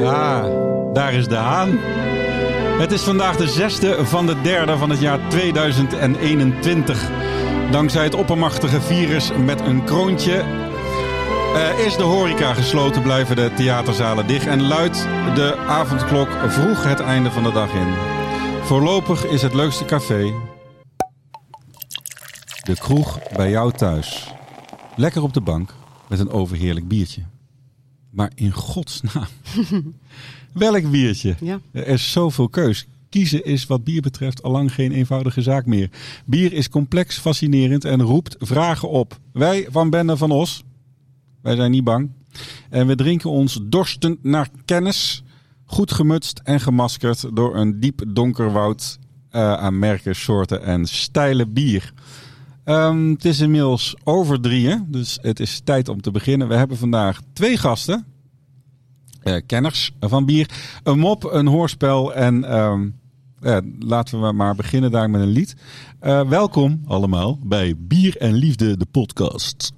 Ah, daar is de haan. Het is vandaag de zesde van de derde van het jaar 2021. Dankzij het oppermachtige virus met een kroontje eh, is de horeca gesloten, blijven de theaterzalen dicht en luidt de avondklok vroeg het einde van de dag in. Voorlopig is het leukste café de kroeg bij jou thuis. Lekker op de bank met een overheerlijk biertje. Maar in godsnaam, welk biertje? Ja. Er is zoveel keus. Kiezen is wat bier betreft allang geen eenvoudige zaak meer. Bier is complex, fascinerend en roept vragen op. Wij van Bende van Os, wij zijn niet bang. En we drinken ons dorstend naar kennis. Goed gemutst en gemaskerd door een diep donker woud eh, aan merken, soorten en stijle bier. Ehm, het is inmiddels over drieën, dus het is tijd om te beginnen. We hebben vandaag twee gasten. eh, kenners van bier. Een mop, een hoorspel en ehm, eh, laten we maar beginnen daar met een lied. Eh, welkom allemaal bij Bier en Liefde, de podcast.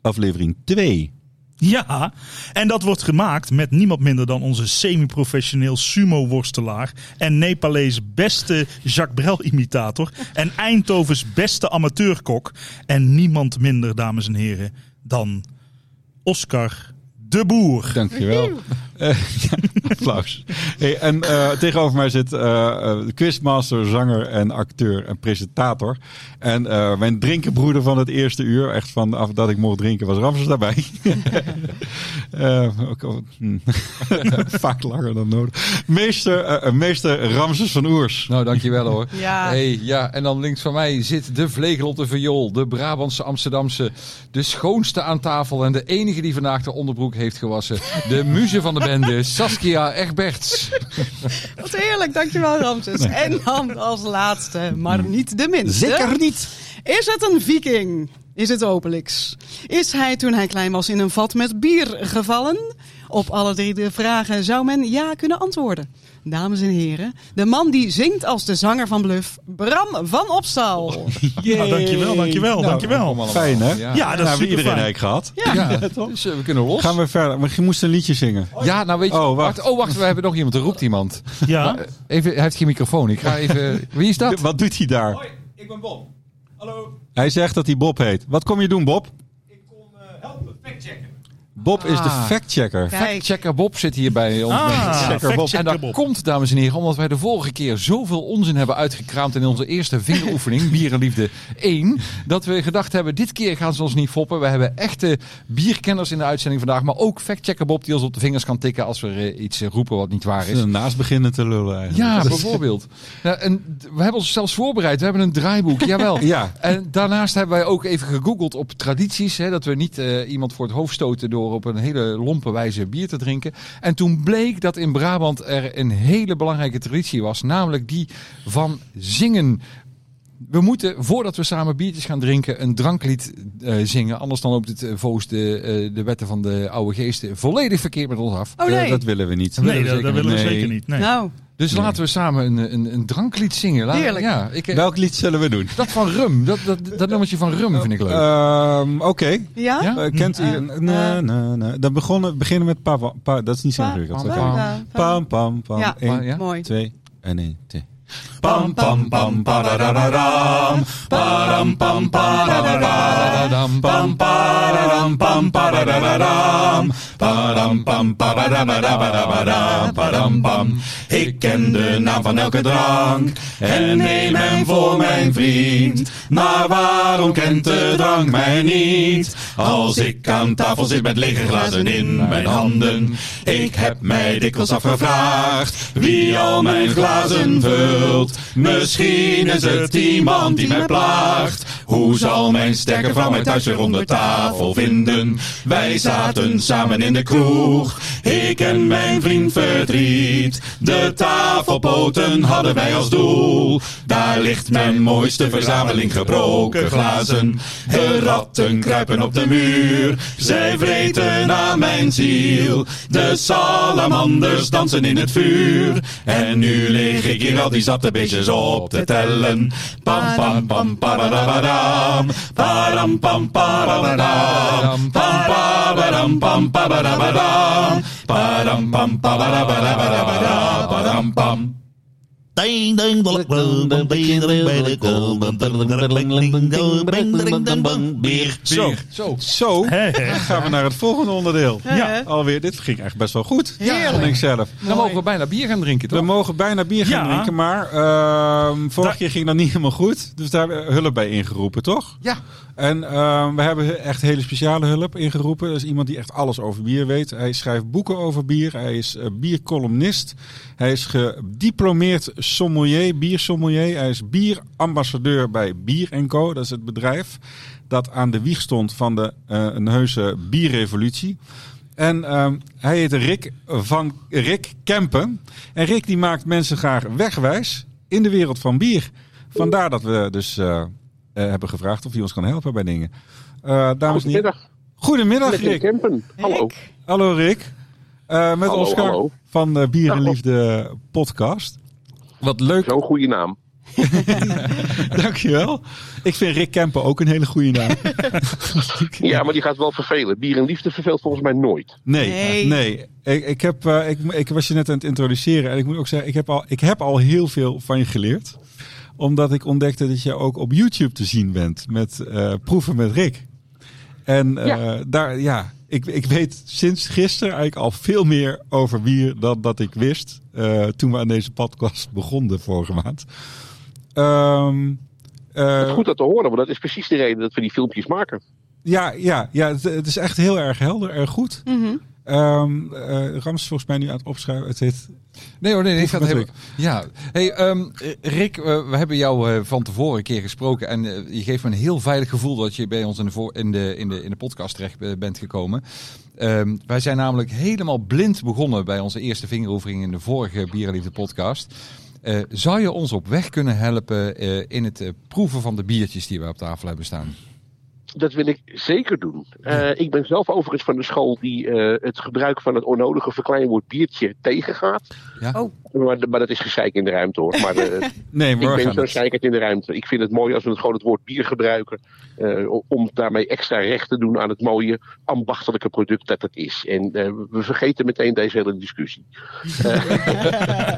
Aflevering 2. Ja, en dat wordt gemaakt met niemand minder dan onze semi-professioneel sumo-worstelaar en Nepalees beste Jacques Brel-imitator en Eindhovens beste amateurkok en niemand minder, dames en heren, dan Oscar de Boer. Dankjewel. Eh, ja, applaus. Hey, en eh, tegenover mij zit eh, eh, quizmaster, zanger en acteur en presentator. En eh, mijn drinkenbroeder van het eerste uur, echt vanaf dat ik mocht drinken, was Ramses daarbij. Eh, ook al- hm. Vaak langer dan nodig. Meester, eh, meester Ramses van Oers. Nou, dankjewel hoor. Ja. Hey, ja, en dan links van mij zit de vlegel op de viool, de Brabantse Amsterdamse, de schoonste aan tafel en de enige die vandaag de onderbroek heeft gewassen. De muze van de bende, Saskia Egberts. Wat heerlijk, dankjewel Ramses. En dan als laatste, maar Mm. niet de minste. niet. Is het een viking? Is het Obelix? Is hij toen hij klein was in een vat met bier gevallen? Op alle drie de vragen zou men ja kunnen antwoorden. Dames en heren, de man die zingt als de zanger van Bluff, Bram van Opstal. Nou, dankjewel, dankjewel, Nou, dankjewel. Fijn, hè? Ja, Ja, Nou, dat is hebben we super iedereen fijn. eigenlijk gehad. Ja, Ja, dus eh, we kunnen los. Gaan we verder. Maar je moest een liedje zingen. Ja, nou weet je. Oh, Oh wacht. wacht. oh, wacht, we hebben nog iemand. Er roept iemand. eh, Ja, Even, hij heeft geen microfoon. Ik ga even. Wie is dat? Wat doet hij daar? Hoi, ik ben Bob. Hallo, Hij zegt dat hij Bob heet. Wat kom je doen, Bob? ik kom eh, helpen, factchecken. Bob is de Ah. factchecker. kijk. Checker Bob zit hier bij ons. Ah, Checker Bob. En factchecker dat Bob. komt, dames en heren, omdat wij de vorige keer zoveel onzin hebben uitgekraamd in onze eerste vingeroefening, Bierenliefde 1, dat we gedacht hebben, dit keer gaan ze ons niet foppen. We hebben echte bierkenners in de uitzending vandaag, maar ook factchecker Bob die ons op de vingers kan tikken als we eh, iets eh, roepen wat niet waar is. Naast beginnen te lullen eigenlijk. Ja, bijvoorbeeld. Ja, en d- we hebben ons zelfs voorbereid. We hebben een draaiboek, jawel. Ja. En daarnaast hebben wij ook even gegoogeld op tradities. Hè, dat we niet eh, iemand voor het hoofd stoten door op een hele lompe wijze bier te drinken. En toen bleek dat in Brabant er een hele belangrijke traditie was. Namelijk die van zingen. We moeten, voordat we samen biertjes gaan drinken, een dranklied eh, zingen. Anders dan loopt het eh, volgens de, eh, de wetten van de oude geesten volledig verkeerd met ons af. Oh nee. Eh, dat willen we niet. nee, dat, dat willen we Nee. zeker niet. Nee. Nou, Dus laten we samen een, een, een dranklied zingen. Laten- Heerlijk. Ja, ik, eh, Welk lied zullen we doen? dat van rum, dat, dat, dat nummertje van rum vind ik leuk. Ehm, Oké. ja? Ja? Eh, kent u... na, na, na. Dan begonnen, beginnen we met... Pa, pa, pa- dat is niet zo Pa- ingewikkeld. pa- Oké. pa- Pam, pam, pam. Ja. Eén, Ja. Mooi. twee en één, twee. Pam, pam, pam, parararam. Param, pam, parararam. Pam, Padadam, pararam, pam, parararam. Param, pam, parararam, param, pam. Ik ken de naam van elke drank en neem hem voor mijn vriend. Maar waarom kent de drank mij niet? Als ik aan tafel zit met lege glazen in mijn handen. Ik heb mij dikwijls afgevraagd wie al mijn glazen vult. Misschien is het iemand die mij plaagt. Hoe zal mijn sterke vrouw mij thuis weer onder tafel vinden? Wij zaten samen in de kroeg. Ik en mijn vriend verdriet. De tafelpoten hadden wij als doel. Daar ligt mijn mooiste verzameling gebroken glazen. De ratten kruipen op de muur. Zij vreten aan mijn ziel. De salamanders dansen in het vuur. En nu lig ik hier al die zat te beestjes op te tellen. Pam pam pam pararabadam. Param pam parabadam. Pam param pam parabadam. Param pam parabadabadabada. Param pam. Ding, ding, dong, dong, dong, ding, dong, ding, dong, dong, dong, dong, dong, dong, dong, dong, Bier. Zo. Zo. Zo, Hè, hè. dan gaan we naar het volgende onderdeel. Ja. Alweer, dit ging echt best wel goed. Heerlijk. Vond ik zelf. Dan mogen we bijna bier gaan drinken, We toch? mogen bijna bier gaan Ja. drinken, maar ehm vorige Da- keer ging dat niet helemaal goed. Dus daar hebben we hulp bij ingeroepen, toch? Ja. En ehm, we hebben echt hele speciale hulp ingeroepen. Dat is iemand die echt alles over bier weet. Hij schrijft boeken over bier. Hij is eh, biercolumnist. Hij is gediplomeerd sommelier, biersommelier. Hij is bierambassadeur bij Bier Co. Dat is het bedrijf dat aan de wieg stond van de eh een heuse bierrevolutie. En ehm, hij heet Rick van Rick Kempen. En Rick die maakt mensen graag wegwijs in de wereld van bier. Vandaar dat we dus eh, eh, hebben gevraagd of hij ons kan helpen bij dingen. Eh, dames en heren. Goedemiddag Goedemiddag, Dag, Rick. Kempen. Hallo. Rick. Hallo Rick. Eh, met Hallo, Oscar hallo. van de Bier en Liefde podcast. Wat leuk. Zo'n goede naam. Dankjewel. Ik vind Rick Kempen ook een hele goede naam. Ja, maar die gaat wel vervelen. Bier en liefde verveelt volgens mij nooit. Nee, nee. Nee. Ik, ik, heb, eh, ik, ik was je net aan het introduceren. En ik moet ook zeggen, ik heb al, ik heb al heel veel van je geleerd. Omdat ik ontdekte dat je ook op YouTube te zien bent. Met eh, proeven met Rick. En eh, Ja. daar, ja. Ik, ik weet sinds gisteren eigenlijk al veel meer over bier dan dat ik wist. eh, toen we aan deze podcast begonnen vorige maand. Ehm, eh, Goed dat te horen, want dat is precies de reden dat we die filmpjes maken. ja, ja, ja het, het is echt heel erg helder en goed. Mhm. Ehm eh, Rams is volgens mij nu aan het opschrijven. Het heet Nee hoor, nee, nee. Ik ga het Proef hebben. Ja. Hey, ehm, Rick, eh, we hebben jou eh, van tevoren een keer gesproken. En eh, je geeft me een heel veilig gevoel dat je bij ons in de, voor, in de, in de, in de podcast terecht eh, bent gekomen. Ehm, wij zijn namelijk helemaal blind begonnen bij onze eerste vingeroefening in de vorige Bierenliefde podcast. Eh, zou je ons op weg kunnen helpen eh, in het eh, proeven van de biertjes die we op tafel hebben staan? Dat wil ik zeker doen. Eh, ik ben zelf overigens van de school die eh, het gebruik van het onnodige verkleinwoord biertje tegengaat. Ja. Oh. Maar, maar dat is gezeik in de ruimte hoor. Maar eh, Nee, ik ben zo'n morgen. zeikert in de ruimte. Ik vind het mooi als we het gewoon het woord bier gebruiken. eh, om daarmee extra recht te doen aan het mooie ambachtelijke product dat het is. En eh, we vergeten meteen deze hele discussie. Eh,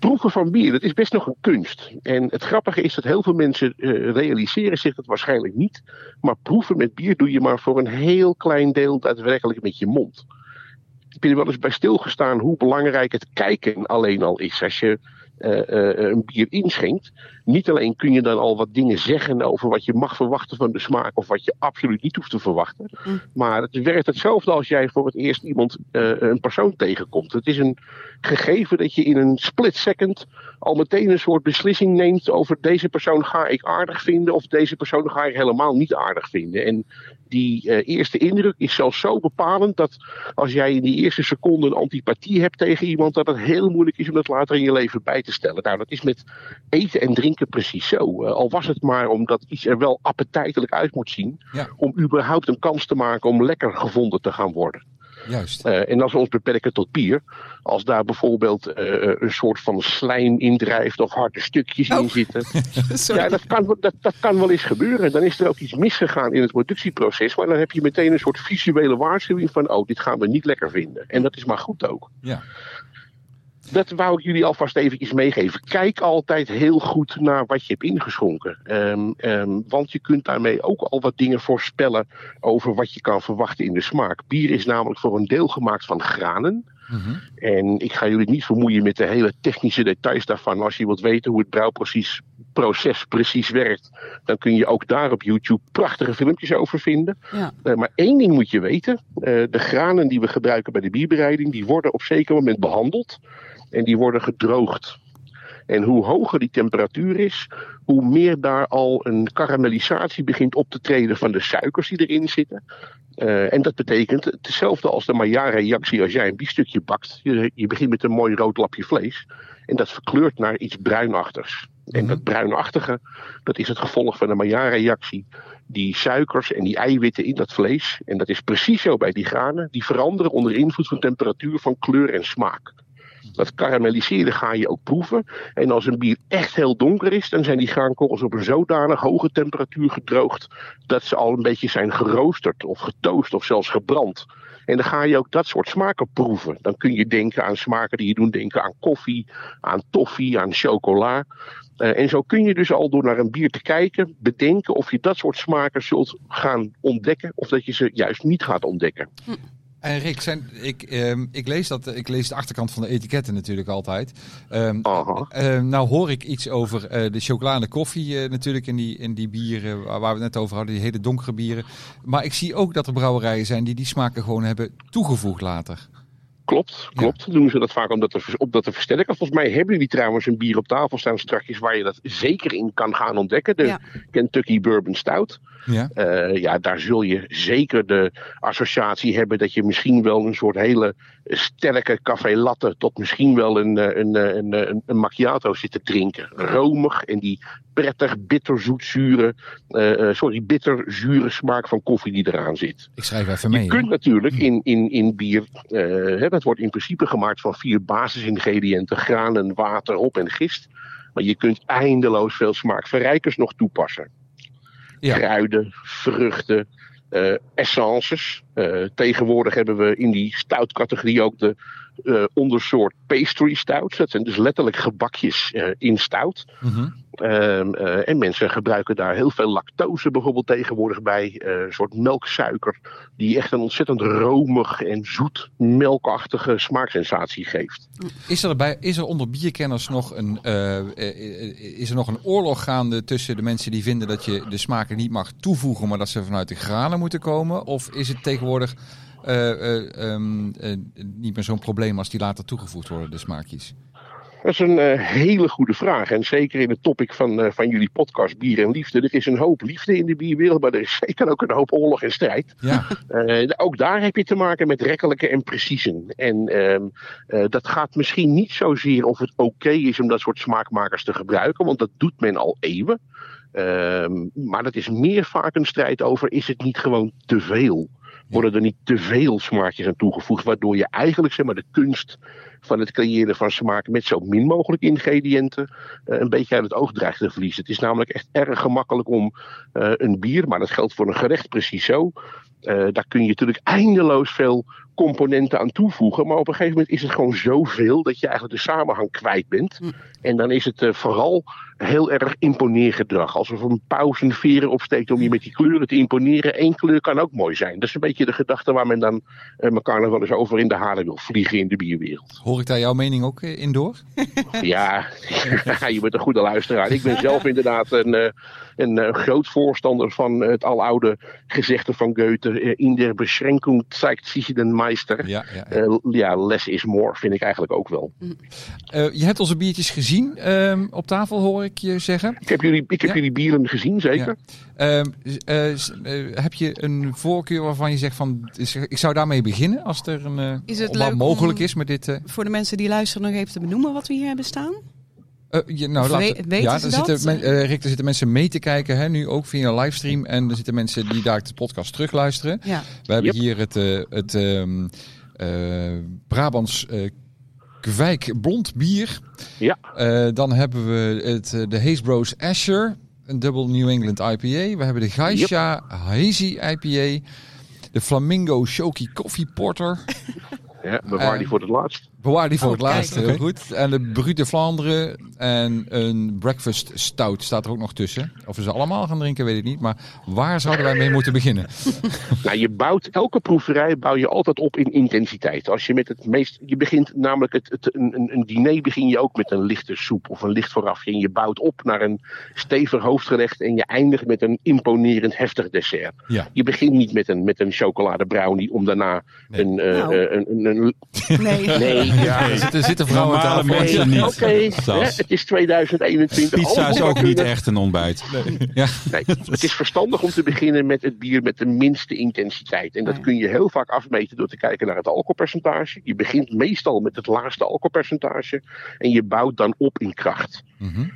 proeven van bier, dat is best nog een kunst. En het grappige is dat heel veel mensen eh, realiseren zich dat waarschijnlijk niet. Maar proeven met bier doe je maar voor een heel klein deel daadwerkelijk met je mond. Ik heb er wel eens bij stilgestaan hoe belangrijk het kijken alleen al is. Als je eh, eh, een bier inschenkt. Niet alleen kun je dan al wat dingen zeggen over wat je mag verwachten van de smaak of wat je absoluut niet hoeft te verwachten. Mm. Maar het werkt hetzelfde als jij voor het eerst iemand, eh, een persoon tegenkomt. Het is een gegeven dat je in een split second al meteen een soort beslissing neemt over deze persoon ga ik aardig vinden of deze persoon ga ik helemaal niet aardig vinden. En die eh, eerste indruk is zelfs zo bepalend dat als jij in die eerste seconde een antipathie hebt tegen iemand, dat het heel moeilijk is om dat later in je leven bij te stellen. Nou, dat is met eten en drinken precies zo. Eh, al was het maar omdat iets er wel appetijtelijk uit moet zien, Ja. om überhaupt een kans te maken om lekker gevonden te gaan worden. Juist. Eh, en als we ons beperken tot bier, als daar bijvoorbeeld eh, een soort van slijm in drijft of harde stukjes in zitten. Ja, dat kan, dat, dat kan wel eens gebeuren. Dan is er ook iets misgegaan in het productieproces. Maar dan heb je meteen een soort visuele waarschuwing van, oh, dit gaan we niet lekker vinden. En dat is maar goed ook. Ja. Dat wou ik jullie alvast eventjes meegeven. Kijk altijd heel goed naar wat je hebt ingeschonken. Ehm, ehm, want je kunt daarmee ook al wat dingen voorspellen over wat je kan verwachten in de smaak. Bier is namelijk voor een deel gemaakt van granen. Mhm. En ik ga jullie niet vermoeien met de hele technische details daarvan. Als je wilt weten hoe het brouwproces proces precies werkt, dan kun je ook daar op YouTube prachtige filmpjes over vinden. Ja. Eh, maar één ding moet je weten: Eh, de granen die we gebruiken bij de bierbereiding, die worden op zeker moment behandeld en die worden gedroogd. En hoe hoger die temperatuur is, hoe meer daar al een karamellisatie begint op te treden van de suikers die erin zitten. Eh, en dat betekent hetzelfde als de Maillard-reactie als jij een biefstukje bakt. Je, je begint met een mooi rood lapje vlees en dat verkleurt naar iets bruinachtigs. En dat bruinachtige, dat is het gevolg van de Maillard-reactie. Die suikers en die eiwitten in dat vlees, en dat is precies zo bij die granen, die veranderen onder invloed van temperatuur, van kleur en smaak. Dat karamelliseren ga je ook proeven. En als een bier echt heel donker is, dan zijn die graankorrels op een zodanig hoge temperatuur gedroogd. dat ze al een beetje zijn geroosterd of getoost of zelfs gebrand. En dan ga je ook dat soort smaken proeven. Dan kun je denken aan smaken die je doen denken aan koffie, aan toffee, aan chocola. Eh, en zo kun je dus al door naar een bier te kijken, bedenken of je dat soort smaken zult gaan ontdekken of dat je ze juist niet gaat ontdekken. En Rick, zijn, ik, ehm, ik, lees dat, ik lees de achterkant van de etiketten natuurlijk altijd. Ehm, Aha. Eh, nou hoor ik iets over eh, de chocolade koffie eh, natuurlijk in die, in die bieren waar, waar we het net over hadden, die hele donkere bieren. Maar ik zie ook dat er brouwerijen zijn die die smaken gewoon hebben toegevoegd later. Klopt, klopt. Doen ze dat vaak om dat te, vers- om dat te versterken. Volgens mij hebben jullie trouwens een bier op tafel staan strakjes waar je dat zeker in kan gaan ontdekken. De Ja. Kentucky Bourbon Stout. Ja. Eh, ja, daar zul je zeker de associatie hebben dat je misschien wel een soort hele sterke café latte tot misschien wel een, eh, een, eh, een, eh, een, een macchiato zit te drinken. Romig en die prettig bitterzoetzure, eh eh, sorry, bitterzure smaak van koffie die eraan zit. Ik schrijf even Je mee. hè. Hm. kunt natuurlijk in, in, in bier, eh, hè, dat wordt in principe gemaakt van vier basisingrediënten: granen, water, hop en gist. Maar je kunt eindeloos veel smaakverrijkers nog toepassen: Ja. kruiden, vruchten, eh, essences. Eh, tegenwoordig hebben we in die stoutcategorie ook de eh, ondersoort pastry stouts. Dat zijn dus letterlijk gebakjes eh, in stout. Mhm. Ehm, eh, en mensen gebruiken daar heel veel lactose bijvoorbeeld tegenwoordig bij. eh, een soort melksuiker. Die echt een ontzettend romig en zoet melkachtige smaaksensatie geeft. Is, er bij, is er onder bierkenners nog een, eh, eh, eh, is er nog een oorlog gaande tussen de mensen die vinden dat je de smaken niet mag toevoegen, maar dat ze vanuit de granen moeten komen? Of is het tegenwoordig eh, eh, ehm, eh, niet meer zo'n probleem als die later toegevoegd worden, de smaakjes? Dat is een eh, hele goede vraag. En zeker in het topic van, eh, van jullie podcast Bier en Liefde. Er is een hoop liefde in de bierwereld. Maar er is zeker ook een hoop oorlog en strijd. Ja. Eh, ook daar heb je te maken met rekkelijke en preciesen. En ehm, eh, dat gaat misschien niet zozeer of het oké is om dat soort smaakmakers te gebruiken, want dat doet men al eeuwen. Ehm, maar dat is meer vaak een strijd over: is het niet gewoon te veel? Worden er niet te veel smaakjes aan toegevoegd, waardoor je eigenlijk zeg maar, de kunst van het creëren van smaak met zo min mogelijk ingrediënten eh, een beetje uit het oog dreigt te verliezen. Het is namelijk echt erg gemakkelijk om eh, een bier, maar dat geldt voor een gerecht precies zo, eh, daar kun je natuurlijk eindeloos veel componenten aan toevoegen. Maar op een gegeven moment is het gewoon zoveel dat je eigenlijk de samenhang kwijt bent. En dan is het eh, vooral heel erg imponeergedrag. Alsof een paus een veren opsteekt om je met die kleuren te imponeren. Eén kleur kan ook mooi zijn. Dat is een beetje de gedachte waar men dan eh, elkaar nog wel eens over in de haren wil vliegen in de bierwereld. Hoor ik daar jouw mening ook eh, in door? Ja, je bent een goede luisteraar. Ik ben zelf inderdaad een, eh, een eh, groot voorstander van het aloude gezegde van Goethe. eh, In der Beschränkung zeigt sich den Meister. Ja, ja, ja. Eh, ja, less is more vind ik eigenlijk ook wel. Eh, je hebt onze biertjes gezien ehm, op tafel, hoor ik je zeggen. Ik heb jullie, ik heb Ja. jullie bieren gezien, zeker. Ehm, s- eh, s- eh, heb je een voorkeur waarvan je zegt van, is- ik zou daarmee beginnen als er een eh, Is het wat leuk mogelijk om- is met dit. eh, Voor de mensen die luisteren nog even te benoemen wat we hier hebben staan. eh, je- nou, Of laat- we- weten ja, ze er dat? Zitten, men- eh, Rick, er zitten mensen mee te kijken, hè, nu ook via een livestream. En er zitten mensen die daar de podcast terugluisteren. Ja. We hebben Yep. hier het, eh, het ehm, eh, Brabants eh Kwijk blond bier. Ja. Eh, dan hebben we het, eh, de Haze Bros Asher, een dubbel New England IPA. We hebben de Geisha Hazy IPA. De Flamingo Shoki Coffee Porter. Ja, bewaar die Eh. voor het laatst. Bewaar die voor Oh, het laatst. kijk. Heel goed. En de Brut de Vlaanderen. En een Breakfast Stout staat er ook nog tussen. Of we ze allemaal gaan drinken, weet ik niet. Maar waar zouden wij mee moeten beginnen? Nou, je bouwt elke proeverij bouw je altijd op in intensiteit. Als je met het meest, je begint namelijk het, het, een, een- een diner begin je ook met een lichte soep of een licht voorafje. En je bouwt op naar een stevig hoofdgerecht en je eindigt met een imponerend heftig dessert. Ja. Je begint niet met een, met een chocolade brownie om daarna Nee. een, eh, Nou. eh, een, een, een- Nee. Nee, ja. Er zitten, er zitten vrouwen aan Normale tafel. mensen Nee, niet. Oké, hè, Sas. het is Oh, 2021. Pizza Alles is kan ook niet kunnen. echt een ontbijt. Nee, het is verstandig om te beginnen met het bier met de minste intensiteit. En dat kun je heel vaak afmeten door te kijken naar het alcoholpercentage. Je begint meestal met het laagste alcoholpercentage en je bouwt dan op in kracht. Mhm.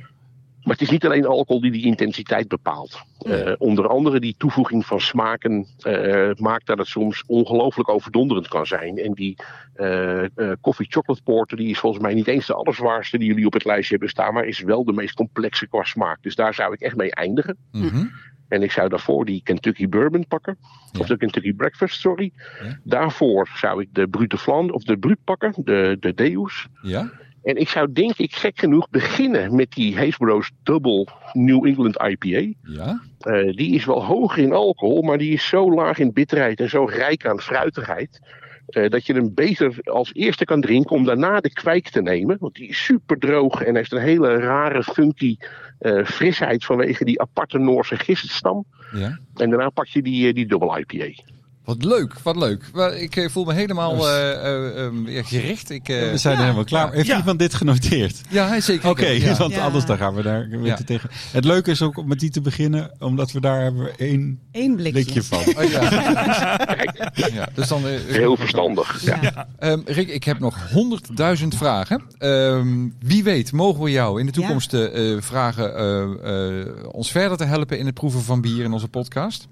Maar het is niet alleen alcohol die die intensiteit bepaalt. Eh, onder andere die toevoeging van smaken eh, maakt dat het soms ongelooflijk overdonderend kan zijn. En die eh eh, coffee chocolate porter die is volgens mij niet eens de allerzwaarste die jullie op het lijstje hebben staan, maar is wel de meest complexe qua smaak. Dus daar zou ik echt mee eindigen. Mhm. En ik zou daarvoor die Kentucky Bourbon pakken. Ja. Of de Kentucky Breakfast, sorry. Ja. Daarvoor zou ik de Brute Flan of de Brut pakken, de, de Deus. Ja? En ik zou denk ik gek genoeg beginnen met die Hazelbrouw's Double New England IPA. Ja? Eh, die is wel hoger in alcohol, maar die is zo laag in bitterheid en zo rijk aan fruitigheid. eh, dat je hem beter als eerste kan drinken om daarna de kwijk te nemen. Want die is super droog en heeft een hele rare, funky eh, frisheid vanwege die aparte Noorse giststam. Ja? En daarna pak je die, eh, die dubbel IPA. Wat leuk, wat leuk. Wel, Ik eh, voel me helemaal eh, eh, eh, ja, gericht. Ik, eh, We zijn er helemaal klaar. Heeft Ja. iemand dit genoteerd? ja, zeker. Oké, ja. want Ja. anders dan gaan we daar een beetje Ja. tegen. Het leuke is ook om met die te beginnen, omdat we daar hebben we één Eén blikje. blikje van. Oh, ja. ja, dus dan, eh, Heel verstandig. Ja. Ehm, Rick, ik heb nog 100.000 vragen. Ehm, wie weet, mogen we jou in de toekomst eh, eh, vragen eh, eh, ons verder te helpen in het proeven van bier in onze podcast?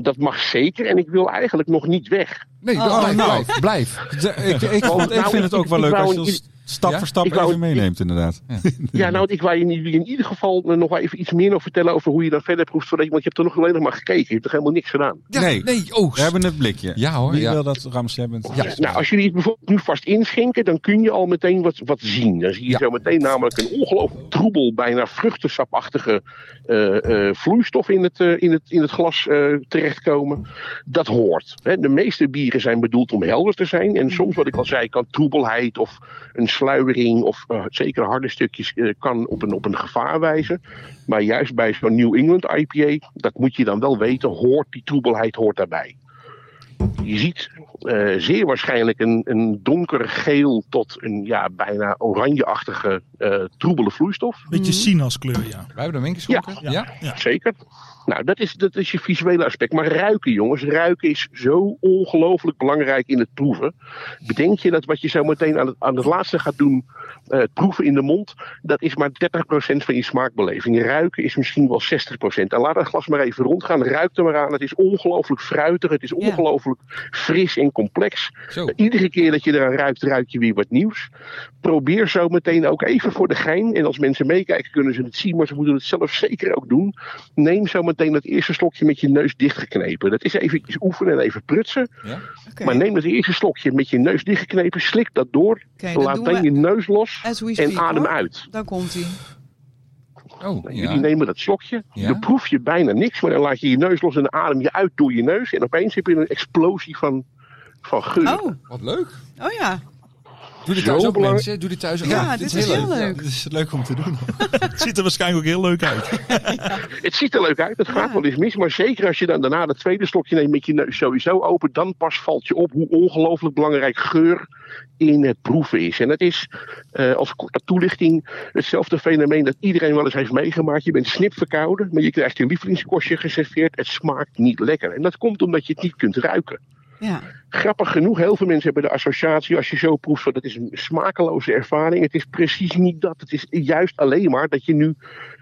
Dat mag zeker en ik wil eigenlijk nog niet weg. Nee, Oh, blijf, nou. blijf, blijf. Ik, ik, vond- ik Nou, vind het ook wel ik leuk wou als je een- ons stap Ja? voor stap Ik wou even een- meeneemt, inderdaad. Ja, nou, ik wou je in, in ieder geval eh, nog wel even iets meer nog vertellen over hoe je dat verder proeft. voordat je- Want je hebt er nog alleen nog maar gekeken. Je hebt er helemaal niks gedaan. Ja, Nee. nee, oh, We hebben het blikje. Ja, hoor, Wie ja. wil dat ramsjebbend? Ja. Nou, als jullie het bijvoorbeeld nu vast inschenken, dan kun je al meteen wat, wat zien. Dan zie je Ja. zo meteen namelijk een ongelooflijk troebel, bijna vruchtensapachtige eh, eh, vloeistof in het, eh, in het, in het glas eh, terechtkomen. Dat hoort. Hè. De meeste bieren zijn bedoeld om helder te zijn. En soms, wat ik al zei, kan troebelheid of een sluiering of eh, zeker harde stukjes eh, kan op een, op een gevaar wijzen. Maar juist bij zo'n New England IPA, dat moet je dan wel weten, hoort die troebelheid hoort daarbij. Je ziet eh, zeer waarschijnlijk een, een donkergeel tot een ja, bijna oranjeachtige eh, troebele vloeistof. Beetje sinaskleur, ja. Wij hebben hem ingeschonken. Ja. ja? Zeker. Nou, dat is, dat is je visuele aspect. Maar ruiken, jongens, ruiken is zo ongelooflijk belangrijk in het proeven. Bedenk je dat wat je zo meteen aan het, aan het laatste gaat doen, eh, het proeven in de mond, dat is maar 30% van je smaakbeleving. Ruiken is misschien wel 60%. En laat dat glas maar even rondgaan. Ruik er maar aan. Het is ongelooflijk fruitig. Het is ongelooflijk fris en complex. Eh, Zo. Iedere keer dat je eraan ruikt, ruik je weer wat nieuws. Probeer zo meteen ook even voor de gein. En als mensen meekijken, kunnen ze het zien, maar ze moeten het zelf zeker ook doen. Neem zo meteen dat eerste slokje met je neus dichtgeknepen. Dat is even oefenen en even prutsen. Ja. Oké. Maar neem dat eerste slokje met je neus dichtgeknepen, slik dat door. Oké, dat laat doen dan we je neus los as we en speak, adem hoor. uit. Dan komt hij. Oh, Jullie ja. nemen dat slokje, Ja. dan proef je bijna niks, maar dan laat je je neus los en dan adem je uit door je neus. En opeens heb je een explosie van, van geur. Oh, Wat leuk. oh ja. Doe dit Zo thuis ook, belangrijk. mensen. Doe dit thuis ook. Ja, dit is heel leuk. Dat is leuk om te doen. Het ziet er waarschijnlijk ook heel leuk uit. Het ziet er leuk uit, het gaat Ja. wel eens mis. Maar zeker als je dan daarna dat tweede slokje neemt met je neus sowieso open, dan pas valt je op hoe ongelooflijk belangrijk geur in het proeven is. En dat is, eh, als korte toelichting, hetzelfde fenomeen dat iedereen wel eens heeft meegemaakt. Je bent snipverkouden, maar je krijgt je lievelingskostje geserveerd. Het smaakt niet lekker. En dat komt omdat je het niet kunt ruiken. Ja. grappig genoeg, heel veel mensen hebben de associatie als je zo proeft van dat is een smakeloze ervaring. Het is precies niet dat. Het is juist alleen maar dat je nu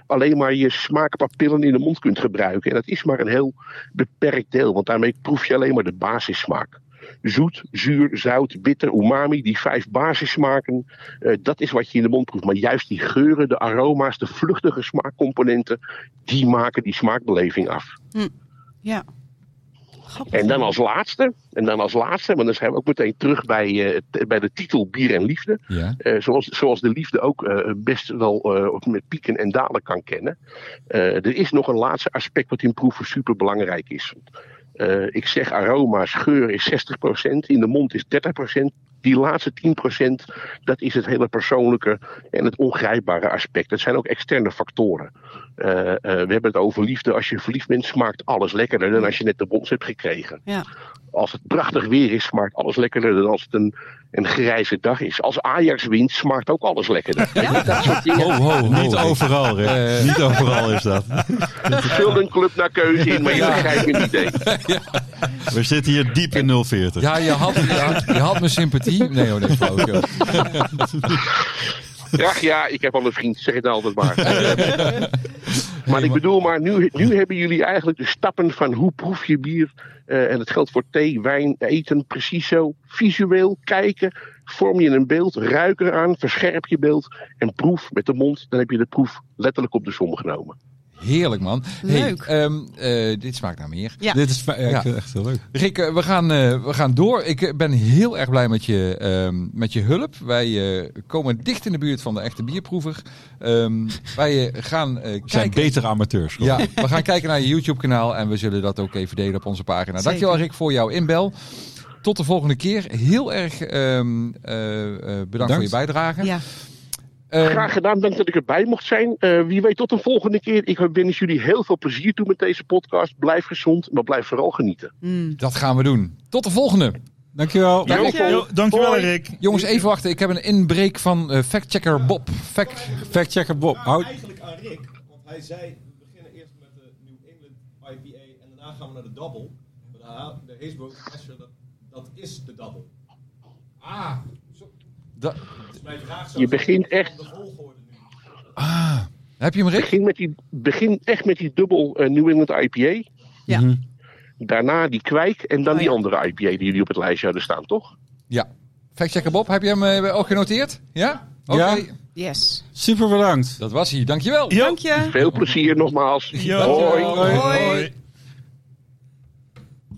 alleen maar je smaakpapillen in de mond kunt gebruiken. En dat is maar een heel beperkt deel, want daarmee proef je alleen maar de basissmaak. Zoet, zuur, zout, bitter, umami, die vijf basissmaken, eh, dat is wat je in de mond proeft. Maar juist die geuren, de aroma's, de vluchtige smaakcomponenten, die maken die smaakbeleving af. Hm. Ja. Grappig. En dan als laatste, en dan als laatste, want dan zijn we ook meteen terug bij, eh, t- bij de titel Bier en Liefde. Ja. Eh, zoals, zoals de liefde ook eh, best wel eh, met pieken en dalen kan kennen. Eh, er is nog een laatste aspect wat in proeven super belangrijk is. Eh, ik zeg aroma's, geur is 60%, in de mond is 30%. Die laatste 10%, dat is het hele persoonlijke en het ongrijpbare aspect. Dat zijn ook externe factoren. Eh, eh, we hebben het over liefde. Als je verliefd bent, smaakt alles lekkerder dan als je net de bons hebt gekregen. Ja. Als het prachtig weer is, smaakt alles lekkerder dan als het een, een grijze dag is. Als Ajax wint, smaakt ook alles lekkerder. Dat soort dingen. Ho, ho, ho. Niet overal, Rick. Eh. Niet overal is dat. Vul een club naar keuze in, maar je begrijpt het idee. We zitten hier diep in 040. Ja, je had, je had, je had mijn sympathie. Nee hoor, dat is flauwekul. Graag ja, ik heb al een vriend, zeg het nou altijd maar. maar ik bedoel, maar nu, nu hebben jullie eigenlijk de stappen van hoe proef je bier. eh, en het geldt voor thee, wijn, eten, precies zo. Visueel kijken, vorm je een beeld, ruik eraan, verscherp je beeld. En proef met de mond, dan heb je de proef letterlijk op de som genomen. Heerlijk, man. Leuk. Hey, ehm, eh, dit smaakt naar meer. Ja. Dit is ja, ik Ja. vind het echt heel leuk. Rick, eh, we gaan, eh, we gaan door. Ik eh, ben heel erg blij met je, ehm, met je hulp. Wij eh, komen dicht in de buurt van de echte bierproever. Ehm, wij eh, gaan eh, We zijn kijken... betere amateurs. gewoon. Ja, we gaan kijken naar je YouTube-kanaal en we zullen dat ook even delen op onze pagina. Zeker. Dankjewel Rick voor jouw inbel. Tot de volgende keer. Heel erg ehm, eh, eh, bedankt, voor je bijdrage. Ja. Ehm, Graag gedaan, dank dat ik erbij mocht zijn. Eh, wie weet tot een volgende keer. Ik wens jullie heel veel plezier toe met deze podcast. Blijf gezond, maar blijf vooral genieten. Dat gaan we doen. Tot de volgende. Dankjewel. Ja. Dankjewel. Jo, dankjewel, Hoi. Rick. Jongens, even wachten. Ik heb een inbreek van eh, factchecker Bob. Fact... Factchecker Bob. Maar Houd... eigenlijk aan Rick, want hij zei, we beginnen eerst met de New England IPA en daarna gaan we naar de Double. Maar de, Ha- de Hazelbrook Asher, dat, dat is de Double. Ah, Da- Dus mijn vraag zou Je zijn, begint van echt- De volgorde nu. Ah, Heb je hem, Rick? Begin, met die, begin echt met die dubbel eh, New England IPA. Ja. Mhm. Daarna die kwijk en dan Oh, die ja. andere IPA die jullie op het lijstje hadden staan, toch? Ja. Factchecker Bob, heb je hem eh, ook genoteerd? Ja? Oké. Ja. Yes. Super bedankt. Dat was hij. Dankjewel. Jo. Dank je. Veel plezier nogmaals. Jo. Hoi. Hoi.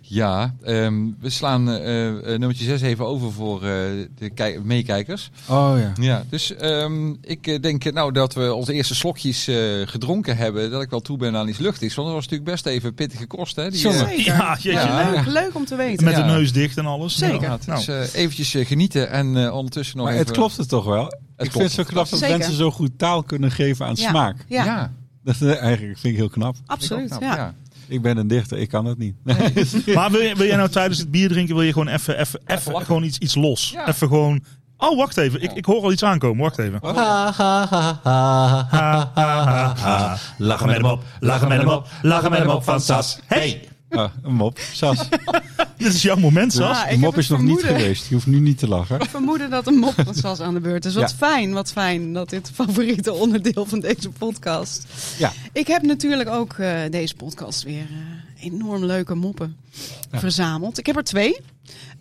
Ja, ehm, we slaan eh, eh, nummertje 6 even over voor eh, de kij- meekijkers. Oh ja. Ja, dus ehm, ik eh, denk eh, nou dat we onze eerste slokjes eh, gedronken hebben, dat ik wel toe ben aan iets luchtigs. Want dat was natuurlijk best even pittige kost, hè? Die, eh, Jongen. Zeker. Ah, Ja, jeetje. Ja. Leuk, leuk om te weten. Met Ja. de neus dicht en alles. Zeker. Ja, dus nou. eh, eventjes eh, genieten en eh, ondertussen nog Maar even... het klopt het toch wel? ik klopt. vind het zo knap dat Zeker. mensen zo goed taal kunnen geven aan Ja. smaak. Ja, Ja, Dat eh, eigenlijk vind ik heel knap. absoluut. Nou, ja. Ik ben een dichter, ik kan dat niet. Maar wil, je- wil jij nou tijdens het bier drinken, wil je gewoon even, even, even lachen. gewoon iets, iets los? Ja. Even gewoon... Oh, wacht even. Ik, ik hoor al iets aankomen. Wacht even. Lachen met hem op, lachen met hem op, lachen met hem op van Sas. Hey! Ah, een mop. Sas, Dit is jouw moment, Sas. Ah, ik de mop heb is het nog niet vermoeden. geweest. Je hoeft nu niet te lachen. vermoeden dat een mop van Sas aan de beurt is. Wat Ja. fijn, wat fijn dat dit favoriete onderdeel van deze podcast. Ja. Ik heb natuurlijk ook eh, deze podcast weer eh, enorm leuke moppen verzameld. Ik heb er twee.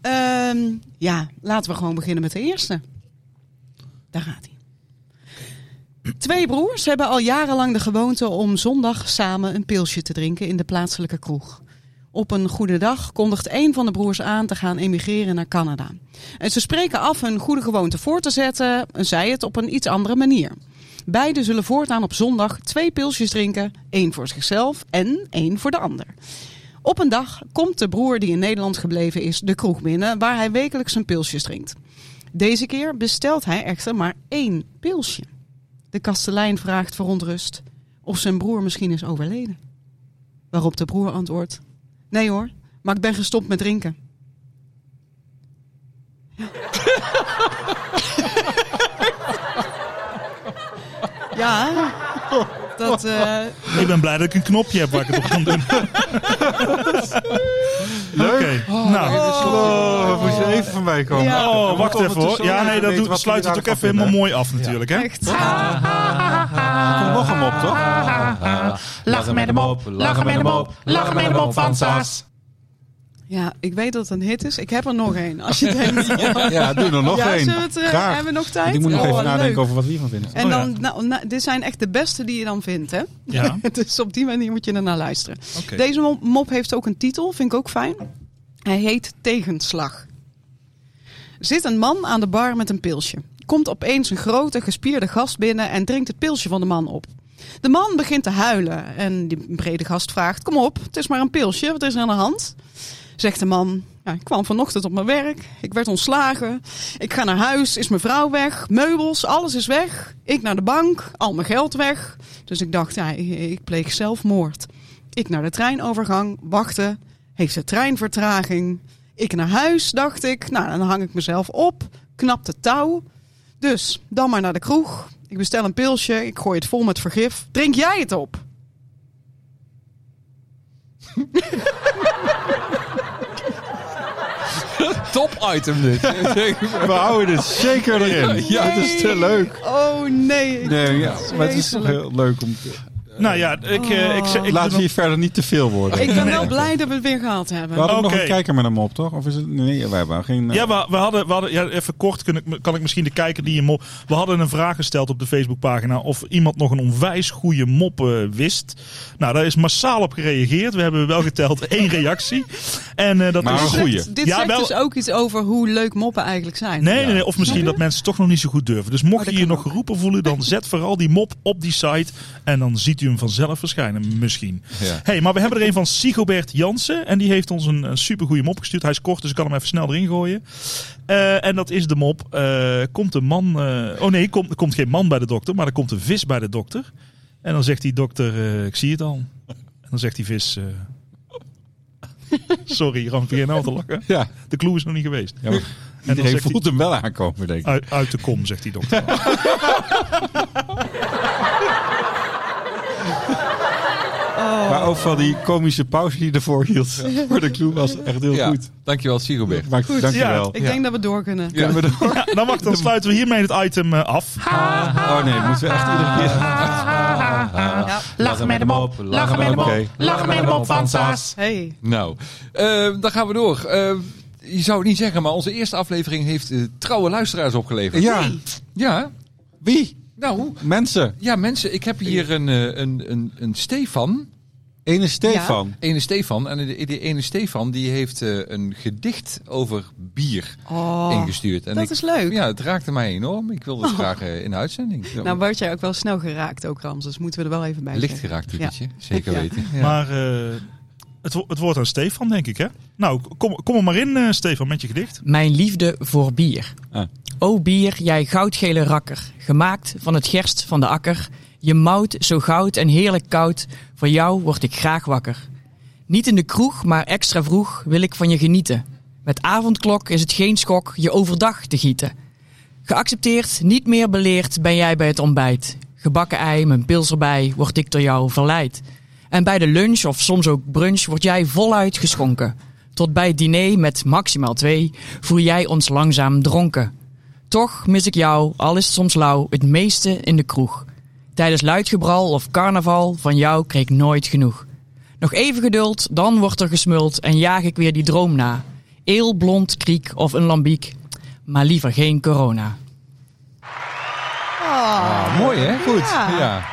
Ehm, ja, laten we gewoon beginnen met de eerste. Daar gaat hij. Twee broers hebben al jarenlang de gewoonte om zondag samen een pilsje te drinken in de plaatselijke kroeg. Op een goede dag kondigt een van de broers aan te gaan emigreren naar Canada. En ze spreken af hun goede gewoonte voor te zetten, en zij het op een iets andere manier. Beiden zullen voortaan op zondag twee pilsjes drinken, één voor zichzelf en één voor de ander. Op een dag komt de broer die in Nederland gebleven is de kroeg binnen waar hij wekelijks zijn pilsjes drinkt. Deze keer bestelt hij echter maar één pilsje. De kastelein vraagt verontrust of zijn broer misschien is overleden. Waarop de broer antwoordt: Nee hoor, maar ik ben gestopt met drinken. Ja, dat. eh, Ik ben blij dat ik een knopje heb waar ik het op kan doen. Leuk. nou. Oh, moet je even van mij komen. Ja. Oh, wacht even hoor. Ja, nee, dat doet, doet sluit het ook even helemaal mooi af natuurlijk, hè? echt. Nog een mop, Ah, toch? Lachen met hem op, lachen met hem op, lachen met hem op van Saas. Ja, ik weet dat het een hit is. Ik heb er nog één. Als je denkt. oh. Ja, doe er nog ja, één. zullen we het, eh, Graag. hebben we nog tijd? Ik moet nog Oh, even nadenken leuk. over wat we hiervan vinden. En Oh, ja. dan, nou, nou, dit zijn echt de beste die je dan vindt, hè? Ja. dus op die manier moet je ernaar luisteren. Oké. Deze mo- mop heeft ook een titel, vind ik ook fijn. Hij heet Tegenslag. Zit een man aan de bar met een pilsje. Komt opeens een grote, gespierde gast binnen en drinkt het pilsje van de man op. De man begint te huilen en die brede gast vraagt: Kom op, het is maar een pilsje, wat is er aan de hand? Zegt de man: ja, Ik kwam vanochtend op mijn werk, ik werd ontslagen. Ik ga naar huis, is mijn vrouw weg, meubels, alles is weg. Ik naar de bank, al mijn geld weg. Dus ik dacht: ja, Ik pleeg zelfmoord. Ik naar de treinovergang, wachten. Heeft de trein vertraging? Ik naar huis, dacht ik. Nou, dan hang ik mezelf op. Knap de touw. Dus, dan maar naar de kroeg. Ik bestel een pilsje. Ik gooi het vol met vergif. Drink jij het op? Top item dit. We houden het zeker erin. Ja, het is te leuk. Oh nee. Nee, ja, maar het is toch heel leuk om te... Nou ja, ik, eh, ik, ik, ik Laat doe hier verder niet te veel worden. Ik ben wel blij dat we het weer gehaald hebben. We hadden ook nog Oké. een kijker met hem op, toch? Of is het... Nee, we hebben geen... eh, Ja, we, we hadden, we hadden ja, even kort kun ik, kan ik misschien de kijker die je mop. We hadden een vraag gesteld op de Facebookpagina of iemand nog een onwijs goede mop eh, wist. Nou, daar is massaal op gereageerd. We hebben wel geteld één reactie. En eh, dat Maar is een goeie. Dit, dit Ja, zegt wel- dus ook iets over hoe leuk moppen eigenlijk zijn. Nee, nee, nee, of misschien dat mensen toch nog niet zo goed durven. Dus mocht dat je je kan nog ook. geroepen voelen, dan zet vooral die mop op die site. En dan ziet u hem vanzelf verschijnen, misschien. Ja. hey, maar we hebben er een van Sigobert Jansen. En die heeft ons een, een supergoeie mop gestuurd. Hij is kort, dus ik kan hem even snel erin gooien. Eh, en dat is de mop. eh, komt een man... eh, oh nee, komt, er komt geen man bij de dokter, maar er komt een vis bij de dokter. En dan zegt die dokter, eh, ik zie het al. En dan zegt die vis... eh, Sorry, Ram, begin nou te lachen. Ja. De clue is nog niet geweest. Ja, maar En dan iedereen zegt hij- voelt hem wel aankomen, denk ik. uit, uit de kom, zegt die dokter. Maar ook van die komische pauze die ervoor hield. Voor de clue was het echt heel Ja, goed. dankjewel Siegelberg. Maar dankjewel. Ik denk dat we door kunnen. Ja. Kunnen we door? Ja, dan Nou, wacht, dan sluiten we hiermee het item eh, af. Oh nee, moeten we echt iedere keer... Lachen met hem op, lachen met hem op, lachen met hem op van Saas. Hey. Nou, eh, dan gaan we door. Eh, je zou het niet zeggen, maar onze eerste aflevering heeft eh, trouwe luisteraars opgeleverd. Ja, Ja, wie? nou, Mensen. ja mensen, ik heb hier een, eh, een, een, een Stefan. Ene Stefan. Ene Stefan. En die, die ene Stefan die heeft eh, een gedicht over bier Oh, ingestuurd. En dat ik, is leuk. Oh. Ja, het raakte mij enorm. Ik wilde het graag eh, in de uitzending. Zo. Nou word jij ook wel snel geraakt ook, Ramses. Moeten we er wel even bij Licht zeggen. geraakt, Ja. typetje. Zeker Ja. weten. Ja. Maar eh, het, wo- het woord aan Stefan, denk ik, hè? Nou, kom, kom er maar in, eh, Stefan, met je gedicht. Mijn liefde voor bier. Ah. O bier, jij goudgele rakker, gemaakt van het gerst van de akker. Je mout zo goud en heerlijk koud, voor jou word ik graag wakker. Niet in de kroeg, maar extra vroeg wil ik van je genieten. Met avondklok is het geen schok je overdag te gieten. Geaccepteerd, niet meer beleerd ben jij bij het ontbijt. Gebakken ei, mijn pils erbij, word ik door jou verleid. En bij de lunch of soms ook brunch word jij voluit geschonken. Tot bij het diner met maximaal twee voer jij ons langzaam dronken. Toch mis ik jou, al is het soms lauw, het meeste in de kroeg. Tijdens luidgebral of carnaval, van jou kreeg ik nooit genoeg. Nog even geduld, dan wordt er gesmuld en jaag ik weer die droom na. Eel, blond, kriek of een lambiek, maar liever geen corona. Ah, mooi hè? Goed. Ja. Ja.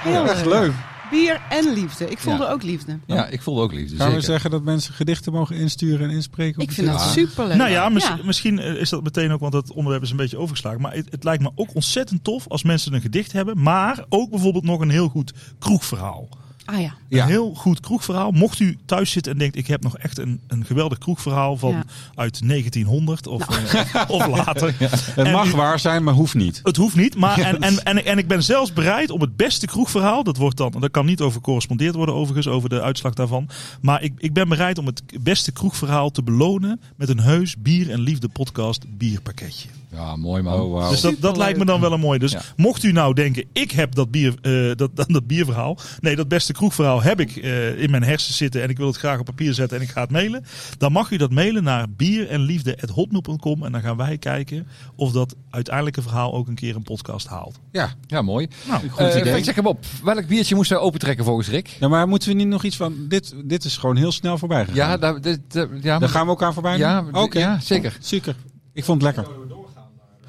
Heel Echt leuk. Bier en liefde. Ik voelde Ja. ook liefde. Oh. Ja, ik voelde ook liefde. Gaan we zeker. zeggen dat mensen gedichten mogen insturen en inspreken? op Ik de vind dat site? superleuk. Nou ja, mis- Ja. misschien eh, is dat meteen ook, want dat onderwerp is een beetje overgeslagen. Maar het, het lijkt me ook ontzettend tof als mensen een gedicht hebben. Maar ook bijvoorbeeld nog een heel goed kroegverhaal. Ah ja. Ja. Een heel goed kroegverhaal. Mocht u thuis zitten en denkt, ik heb nog echt een, een geweldig kroegverhaal van Ja. Nou. uit 1900 of, eh, of later. Het En mag u- waar zijn, maar hoeft niet. Het hoeft niet, maar en, en, en, en ik ben zelfs bereid om het beste kroegverhaal, dat wordt dan, dat kan niet over correspondeerd worden overigens, over de uitslag daarvan, maar ik, ik ben bereid om het beste kroegverhaal te belonen met een heus bier en liefde podcast bierpakketje. Ja, mooi man. Oh, wauw. Dus dat, dat Superleuk. lijkt me dan wel een mooi. Dus Ja. mocht u nou denken, ik heb dat, bier, eh, dat, dat, dat bierverhaal, nee, dat beste kroegverhaal heb ik eh, in mijn hersens zitten en ik wil het graag op papier zetten en ik ga het mailen, dan mag u dat mailen naar bierenliefde.hotmail.com en dan gaan wij kijken of dat uiteindelijke verhaal ook een keer een podcast haalt. Ja, ja, mooi. Nou, Goed idee. Check Eh, hem op. Welk biertje moesten wij opentrekken volgens Rick? Ja, maar moeten we niet nog iets van... Dit, dit is gewoon heel snel voorbij gegaan. Ja, daar, dit, eh, ja, Daar maar- gaan we elkaar voorbij? ja, Oké. d- ja, zeker. Zeker. Ik vond het lekker. Zouden we doorgaan naar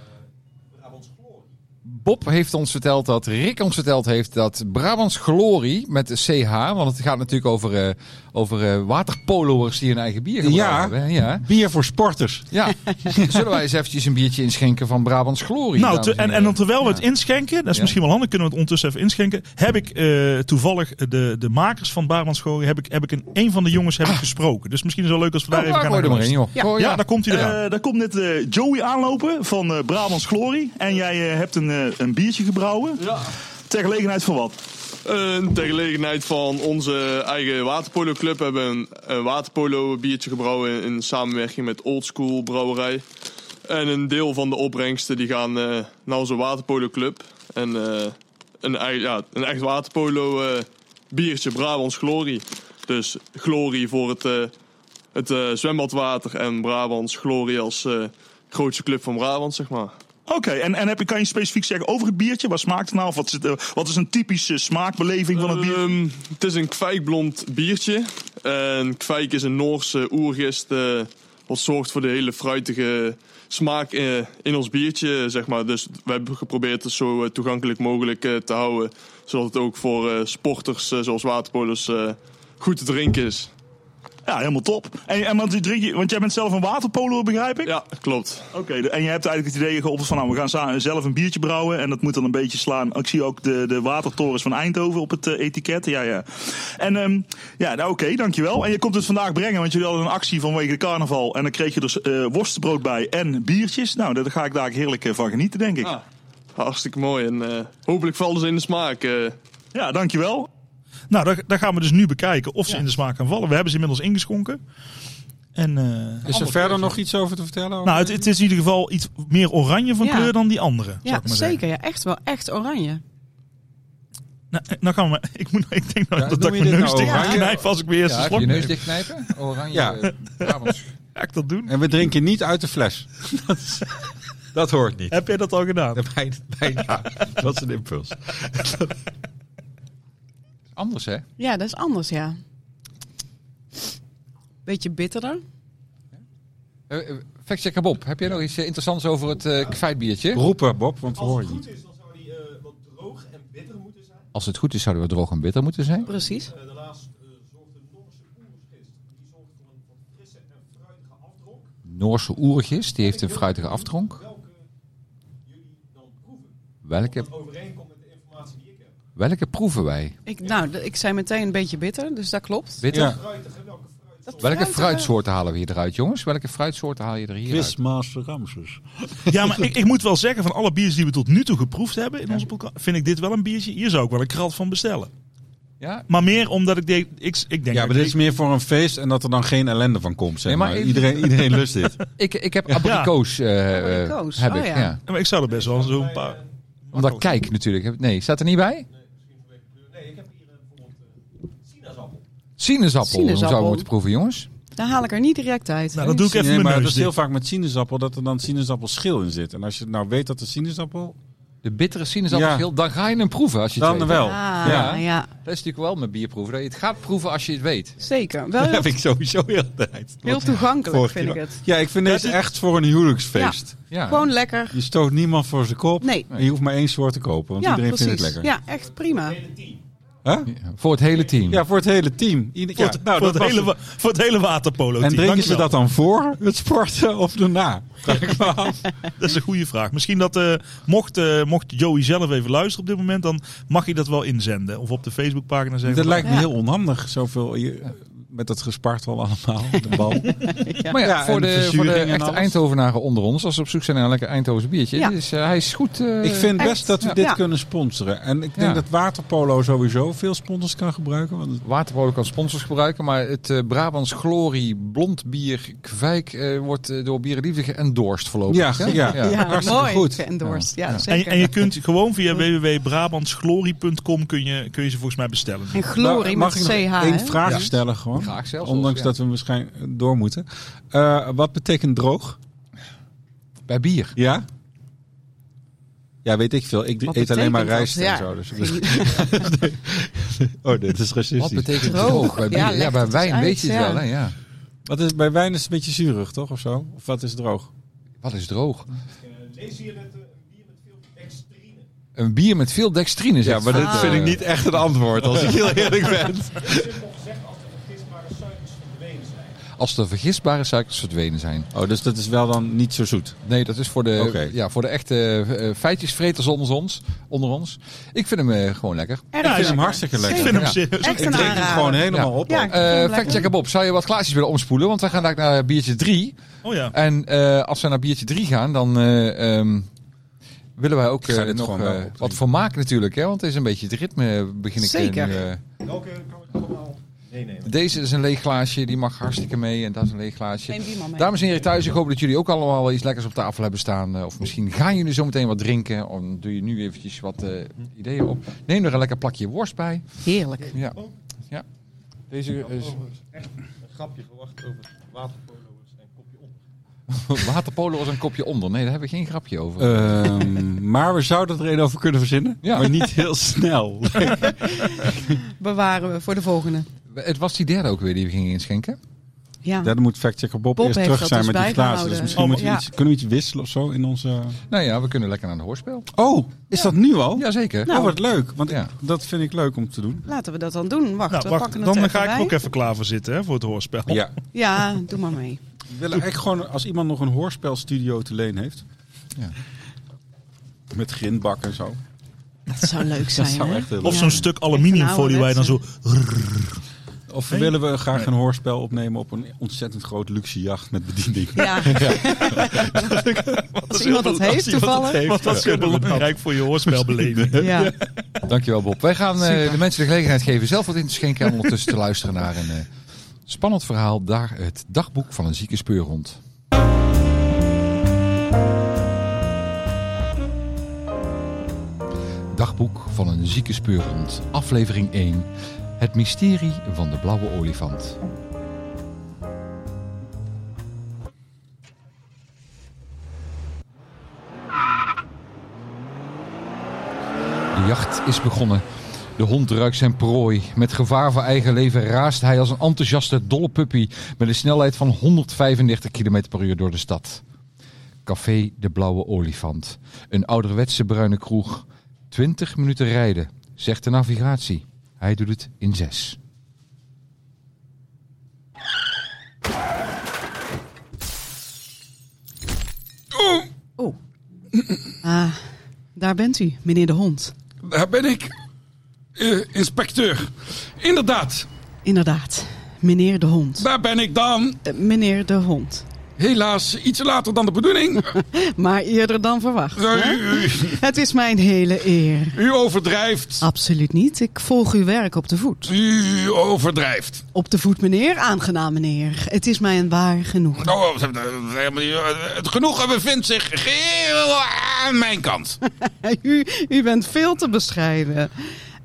eh Brabants Glorie? Bob heeft ons verteld dat Rick ons verteld heeft dat Brabants Glorie met de CH, want het gaat natuurlijk over, eh, over eh, waterpoloers die hun eigen bier gebruiken. Ja. hebben, hè? ja. Bier voor sporters. Ja, zullen wij eens eventjes een biertje inschenken van Brabants Glorie? Nou, dames te- en, en dan terwijl we het inschenken, dat is Ja. misschien wel handig, kunnen we het ondertussen even inschenken. Heb ik eh, toevallig de, de makers van Barmans Gooi, heb ik, heb ik een, een van de jongens heb ik gesproken. Dus misschien is het wel leuk als we daar Ah. Oh, even waar gaan gooi je er maar in, luisteren. joh. Ja, Gooi, ja. daar komt hij. Ja. eh, daar komt net eh, Joey aanlopen van eh Brabants Glory. En jij eh, hebt een, eh, een biertje gebrouwen. Ja. Ter gelegenheid van wat? Eh, ter gelegenheid van onze eigen waterpolo-club hebben we een, een waterpolo-biertje gebrouwen in samenwerking met Old School Brouwerij. En een deel van de opbrengsten die gaan eh, naar onze waterpolo-club. En eh, een, ei- ja, een echt waterpolo-biertje, eh, Brabants Glorie. Dus glorie voor het, eh, het eh, zwembadwater en Brabants glorie als eh, grootste club van Brabant, zeg maar. Oké, en, en heb je, kan je specifiek zeggen over het biertje? Wat smaakt het nou? Of wat, zit er- wat is een typische smaakbeleving van het bier? Ehm, het is een kwijkblond biertje. En kwijk is een Noorse oergist. eh, wat zorgt voor de hele fruitige smaak eh, in ons biertje, zeg maar. Dus we hebben geprobeerd het zo eh, toegankelijk mogelijk eh, te houden. Zodat het ook voor eh, sporters eh, zoals waterpolers eh, goed te drinken is. Ja, helemaal top. En, en want, drink je, want jij bent zelf een waterpolo, begrijp ik? Ja, klopt. Oké, de- en je hebt eigenlijk het idee geopperd van nou, we gaan za- zelf een biertje brouwen. En dat moet dan een beetje slaan. Ik zie ook de, de watertorens van Eindhoven op het eh, etiket. Ja, ja. En ehm, ja, nou oké, dankjewel. En je komt het vandaag brengen, want jullie hadden een actie vanwege de carnaval. En dan kreeg je dus eh, worstenbrood bij en biertjes. Nou, daar ga ik daar heerlijk eh, van genieten, denk ik. Ah. Hartstikke mooi. En eh, hopelijk vallen ze in de smaak. eh. Ja, dankjewel. Nou, daar, daar gaan we dus nu bekijken of ze in de smaak gaan vallen. We hebben ze inmiddels ingeschonken. En, eh, Is er verder nog iets over te vertellen? nou, het, het is in ieder geval iets meer oranje van Ja. kleur dan die andere. zou ik Ja, maar zeggen. zeker. Ja, echt wel. Echt oranje. Nou, eh, nou gaan we. Ik, moet, ik denk nou Ja, dat, doe dat je ik mijn dit neus nou dicht oranje? knijp als ik mijn eerste Ja, even slok je neus neem. dichtknijpen. Oranje. Ja. eh, Brabants. Ga ik dat doen? En we drinken niet uit de fles. Dat is- dat hoort niet. Heb jij dat al gedaan? Bij- Bijna. Dat is een impuls. Anders, hè? Ja, dat is anders, ja. Beetje bitterder. Eh, eh, Factchecker Bob, heb jij nog iets eh, interessants over het eh kwijtbiertje? Roepen, Bob, want we Als horen het je niet. goed is, dan zou die eh, wat droog en bitter moeten zijn. Als het goed is, zouden we droog en bitter moeten zijn. Precies. Eh, daarnaast eh, zorgt de Noorse oergist, die zorgt voor een wat frisse en fruitige afdronk. Noorse oergist, die heeft een fruitige aftronk. Welke jullie dan proeven. Welke, Dat overeenkomt met de informatie die ik heb. welke proeven wij? Ik, nou, d- ik zei meteen een beetje bitter, dus dat klopt. Bitter? Ja. Fruitige, welke fruit? Dat Welke fruitige- fruitsoorten halen we hier eruit, jongens? Welke fruitsoorten haal je er hier uit? Quizmaster Ramses. Ja, maar ik, ik moet wel zeggen, van alle biers die we tot nu toe geproefd hebben in onze podcast, vind ik dit wel een biertje. Hier zou ik wel een krat van bestellen. Ja? Maar meer omdat ik denk, ik, ik denk Ja, maar dat dit is meer voor een feest en dat er dan geen ellende van komt. Zeg Nee, maar maar. even- Iedereen, iedereen lust dit. Ik, ik heb abrikoos. eh, eh, Abrikoos, heb oh ik, ja. ja. ik- maar ik zou er best wel zo'n paar. Omdat kijk natuurlijk. Nee, staat er niet bij? Nee, ik heb hier eh, bijvoorbeeld eh, sinaasappel. Sinaasappel, Hoe zouden Sinaasappel. we moeten proeven, jongens. eh, Daar haal ik er niet direct uit. Nou, dat doe ik even Nee, mijn maar dat neus is heel dicht. vaak met sinaasappel dat er dan sinaasappelschil in zit. En als je nou weet dat de sinaasappel... De bittere sinaasappelschil, dan ga je hem proeven als je het Dan weet. wel. Ah, ja. ja. Dat is natuurlijk wel met bierproeven. Dat je het gaat proeven als je het weet. zeker. Wel heel, Dat vind ik sowieso heel tijd. heel toegankelijk, Vorige vind ik keer. het. Ja, ik vind deze echt voor een huwelijksfeest. Ja. Gewoon lekker. Je stoot niemand voor zijn kop. Nee. En je hoeft maar één soort te kopen, want ja, iedereen precies. vindt het lekker. Ja, echt prima. Hè? Voor het hele team. Ja, voor het hele team. Ieder- ja, nou, voor, het was hele, het. wa- voor het hele waterpolo. En drinken ze dat dan voor het sporten of daarna? Vraag ik me af. Dat is een goede vraag. Misschien dat, eh, mocht, eh, mocht Joey zelf even luisteren op dit moment, dan mag hij dat wel inzenden. Of op de Facebookpagina zeggen. Dat van, lijkt me Ja. heel onhandig, zoveel hier, eh, met dat gespartel allemaal. De bal. Maar ja, Ja, voor, en de, voor verzuring de en echte alles. Eindhovenaren onder ons, als ze op zoek zijn naar een lekker Eindhovense biertje. Ja. Dus eh, hij is goed. eh, Ik vind Echt? best dat we Ja. dit Ja. kunnen sponsoren. En ik denk Ja. dat waterpolo sowieso veel sponsors kan gebruiken. Want Waterpolo kan sponsors gebruiken, maar het eh, Brabants Glorie blond bier kwijk eh, wordt eh, door Bierenliefde geëndorsed voorlopig. Ja, hè? ja. Ja, hartstikke Ah, mooi. goed. Geëndorst. Ja, En, zeker. en je kunt gewoon via www.brabantsglory.com kun je, kun je ze volgens mij bestellen. En glorie mag met ik CH. nog hè? één vraag Ja. stellen gewoon? Graag zelfs, Ondanks ja. dat we waarschijnlijk door moeten. Eh, wat betekent droog? Bij bier. Ja? Ja, weet ik veel. Ik Wat eet alleen maar betekent rijst dat? en Ja. zo. Dus oh, dit is Wat racistisch. betekent Droog. droog bij bier? Ja, Ja, leg het bij eens wijn uit, weet je het ja. wel. Hè? Ja. Wat is, bij wijn is het een beetje zuurig, toch? Of zo? Of wat is droog? Wat is droog? Eh, lees hier dat eh, een bier met veel dextrine. Een bier met veel dextrine. zegt maar Fred, dat eh, vind ik niet echt een antwoord, als ik heel eerlijk ben. Simpel gezegd, als de vergisbare suikers verdwenen zijn. Als de vergistbare suikers verdwenen zijn. Oh, dus dat is wel dan niet zo zoet. Nee, dat is voor de, Oké. ja, voor de echte eh, feitjesvreters onder ons, onder ons. Ik vind hem eh, gewoon lekker. Erg ik vind hem lekker. hartstikke lekker. Ik vind hem Ja. serieus. Echt Ik een drink hem aanrader. gewoon helemaal Ja. op. Ja, hoor. ik vind hem Eh lekker. Factchecker Bob, zou je wat glaasjes willen omspoelen? Want wij gaan daar naar biertje 3. Oh ja. En eh, als we naar biertje 3 gaan, dan eh, ehm, willen wij ook Ik ga eh, dit nog gewoon wel eh, opdrinken. wat van maken natuurlijk. Hè? Want het is een beetje het ritme begin ik eh, Zeker. nu. eh. Welke kan ik allemaal meenemen? deze is een leeg glaasje, die mag hartstikke mee. En dat is een leeg glaasje. Neem die man mee. Dames en heren thuis, ik hoop dat jullie ook allemaal wel iets lekkers op tafel hebben staan. Eh, Of misschien gaan jullie zo meteen wat drinken. Of dan doe je nu eventjes wat eh, ideeën op. Neem er een lekker plakje worst bij. Heerlijk. Ja. ja. Deze eh, Een grapje verwacht over waterpolo's en kopje onder. waterpolo was een kopje onder. Nee, daar hebben we geen grapje over. Ehm, maar we zouden er een over kunnen verzinnen. Ja. Maar niet heel snel. Bewaren we voor de volgende. Het was die derde ook weer die we gingen inschenken. Ja. Ja, dan moet factchecker Bob, Bob eerst heeft terug dat zijn dus met die glazen. Dus bijgehouden. misschien Oh, moeten we ja. iets, kunnen we iets wisselen of zo in onze... Nou ja, we kunnen lekker naar een hoorspel. Oh, is dat nu al? Jazeker. Nou, wat leuk. Want Ja. ik- dat vind ik leuk om te doen. Laten we dat dan doen. Wacht, Nou, we wacht, pakken het dan er ga ik bij. er ook even klaar voor zitten hè, voor het hoorspel. Ja. Ja, doe maar mee. We willen eigenlijk gewoon, als iemand nog een hoorspelstudio te leen heeft. Ja. Met grindbak en zo. Dat zou leuk zijn, zou hè? echt heel leuk Of Ja. zo'n stuk Echt aluminium een voor die wij dan zo... Of Nee. willen we graag een hoorspel opnemen op een ontzettend groot luxe jacht met bediening. Ja. Als iemand dat heeft, toevallig. Want dat is heel belangrijk voor je hoorspelbeleving. Ja. Dankjewel Bob. Wij gaan eh, de mensen de gelegenheid geven zelf wat in te schenken en ondertussen te luisteren naar een eh, spannend verhaal. Daar het dagboek van een zieke speurhond. Dagboek van een zieke speurhond, aflevering 1. Het mysterie van de blauwe olifant. De jacht is begonnen. De hond ruikt zijn prooi. Met gevaar voor eigen leven raast hij als een enthousiaste dolle puppy met een snelheid van 135 km per uur door de stad. Café De Blauwe Olifant. Een ouderwetse bruine kroeg. 20 minuten rijden, zegt de navigatie. Hij doet het in zes. Oh. Ah, daar bent u, meneer de hond. Daar ben ik, eh, inspecteur. Inderdaad, Inderdaad, meneer de hond. daar ben ik dan. Eh, meneer de hond. Helaas iets later dan de bedoeling. Maar eerder dan verwacht. hè? Het is mijn hele eer. u overdrijft. Absoluut niet. Ik volg uw werk op de voet. U overdrijft. Op de voet, meneer. Aangenaam, meneer. Het is mij een waar genoegen. Oh, eh, het genoegen bevindt zich geheel aan mijn kant. U, u bent veel te bescheiden.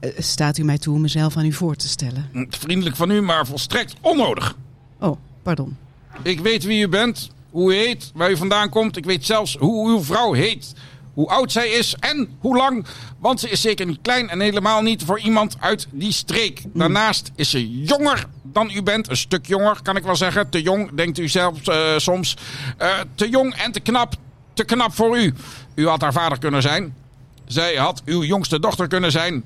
Eh, Staat u mij toe om mezelf aan u voor te stellen? Vriendelijk van u, maar volstrekt onnodig. Oh, pardon. Ik weet wie u bent, hoe u heet, waar u vandaan komt. Ik weet zelfs hoe uw vrouw heet, hoe oud zij is en hoe lang. Want ze is zeker niet klein en helemaal niet voor iemand uit die streek. Daarnaast is ze jonger dan u bent. Een stuk jonger, kan ik wel zeggen. Te jong, denkt u zelfs eh, soms. Eh, te jong en te knap. Te knap voor u. U had haar vader kunnen zijn. Zij had uw jongste dochter kunnen zijn.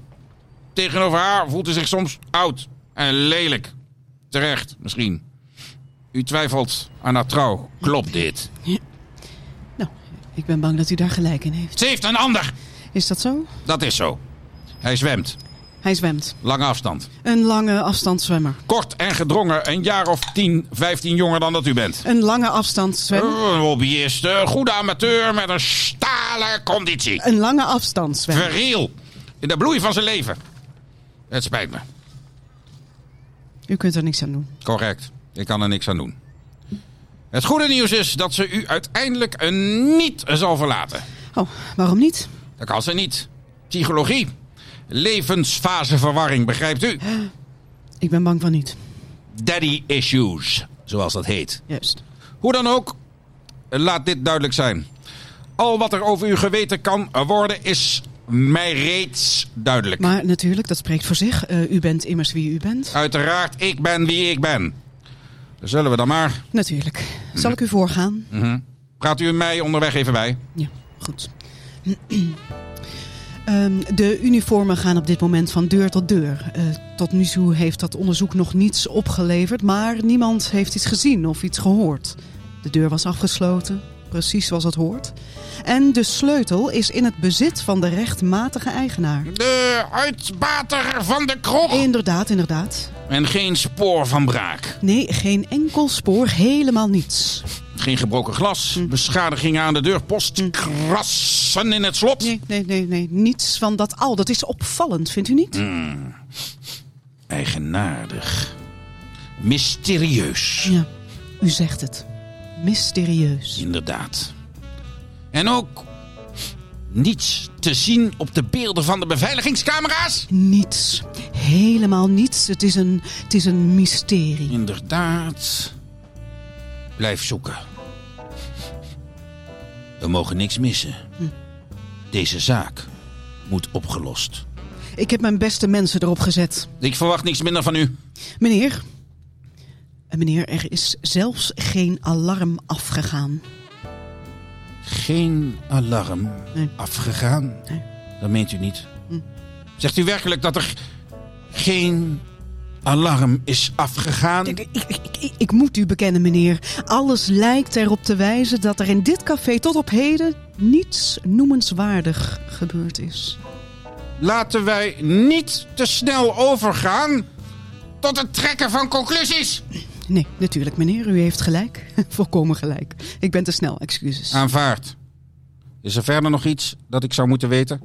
Tegenover haar voelt u zich soms oud en lelijk. Terecht, misschien. U twijfelt aan haar trouw. Klopt dit? Nou, ik ben bang dat u daar gelijk in heeft. Ze heeft een ander. Is dat zo? Dat is zo. Hij zwemt. Hij zwemt. Lange afstand. Een lange afstandszwemmer. Kort en gedrongen. Een jaar of 10, 15 jonger dan dat u bent. Een lange afstandszwemmer. Een hobbyist. Een goede amateur met een stalen conditie. Een lange afstandszwemmer. Verriel. In de bloei van zijn leven. Het spijt me. U kunt er niks aan doen. Correct. Ik kan er niks aan doen. Het goede nieuws is dat ze u uiteindelijk een niet zal verlaten. Oh, waarom niet? Dat kan ze niet. Psychologie. Levensfaseverwarring, begrijpt u? Ik ben bang van niet. Daddy issues, zoals dat heet. Juist. Hoe dan ook, laat dit duidelijk zijn. Al wat er over u geweten kan worden, is mij reeds duidelijk. Maar natuurlijk, dat spreekt voor zich. Eh, u bent immers wie u bent. Uiteraard, ik ben wie ik ben. Zullen we dan maar. Natuurlijk. Zal ik u voorgaan? Mhm. Praat u mij onderweg even bij. Ja, goed. Ehm, de uniformen gaan op dit moment van deur tot deur. Eh, tot nu toe heeft dat onderzoek nog niets opgeleverd, maar niemand heeft iets gezien of iets gehoord. De deur was afgesloten, precies zoals het hoort. En de sleutel is in het bezit van de rechtmatige eigenaar. De uitbater van de kroeg. Inderdaad, inderdaad. En geen spoor van braak. Nee, geen enkel spoor, helemaal niets. Geen gebroken glas. Beschadigingen aan de deurpost. Krassen in het slot. Nee, nee, nee, nee, niets van dat al. Dat is opvallend, vindt u niet? Mhm. Eigenaardig. Mysterieus. Ja, u zegt het. Mysterieus. Inderdaad. En ook niets te zien op de beelden van de beveiligingscamera's? Niets. helemaal niets. Het is een, het is een mysterie. Inderdaad. Blijf zoeken. We mogen niks missen. Deze zaak moet opgelost. Ik heb mijn beste mensen erop gezet. Ik verwacht niks minder van u. Meneer. Eh, Meneer, er is zelfs geen alarm afgegaan. Geen alarm Nee. afgegaan. Nee. Dat meent u niet. Hm. Zegt u werkelijk dat er geen alarm is afgegaan? Ik, ik, ik- ik- ik moet u bekennen, meneer. Alles lijkt erop te wijzen dat er in dit café tot op heden niets noemenswaardig gebeurd is. Laten wij niet te snel overgaan tot het trekken van conclusies. Nee, natuurlijk, meneer. U heeft gelijk. Volkomen gelijk. Ik ben te snel, excuses. Aanvaard. Is er verder nog iets dat ik zou moeten weten?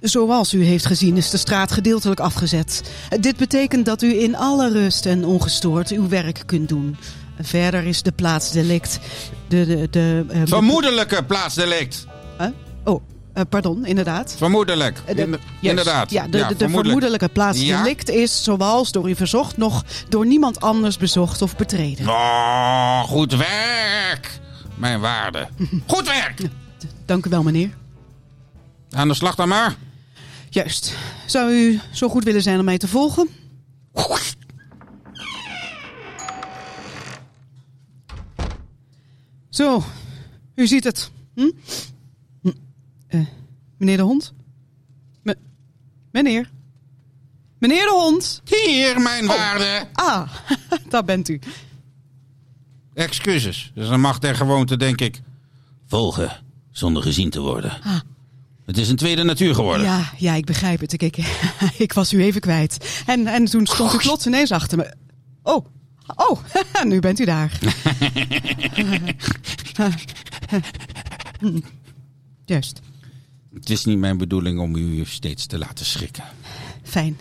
Zoals u heeft gezien is de straat gedeeltelijk afgezet. Dit betekent dat u in alle rust en ongestoord uw werk kunt doen. Verder is de plaats delict. De, de, de, eh, Vermoedelijke plaatsdelict. Huh? Oh, eh, pardon, inderdaad. Vermoedelijk. Eh, de- Inder- juist. Inderdaad. Ja, de, de, de vermoedelijk. vermoedelijke plaats Ja. delict is, zoals door u verzocht, nog door niemand anders bezocht of betreden. Oh, goed werk. Mijn waarde. Goed werk. Dank u wel, meneer. Aan de slag dan maar. Juist. Zou u zo goed willen zijn om mij te volgen? Zo, u ziet het. Hm? Hm. Eh, meneer de hond? Me- meneer? Meneer de hond? Hier, mijn waarde. Oh, Ah, daar bent u. Excuses. Dus Dat is een macht en gewoonte, denk ik. Volgen zonder gezien te worden. Ah. Het is een tweede natuur geworden. Ja, ja, ik begrijp het. Ik, ik, ik was u even kwijt. En, en toen stond u plots ineens achter me. Oh, oh, nu bent u daar. Hm. Juist, Het is niet mijn bedoeling om u steeds te laten schrikken. fijn.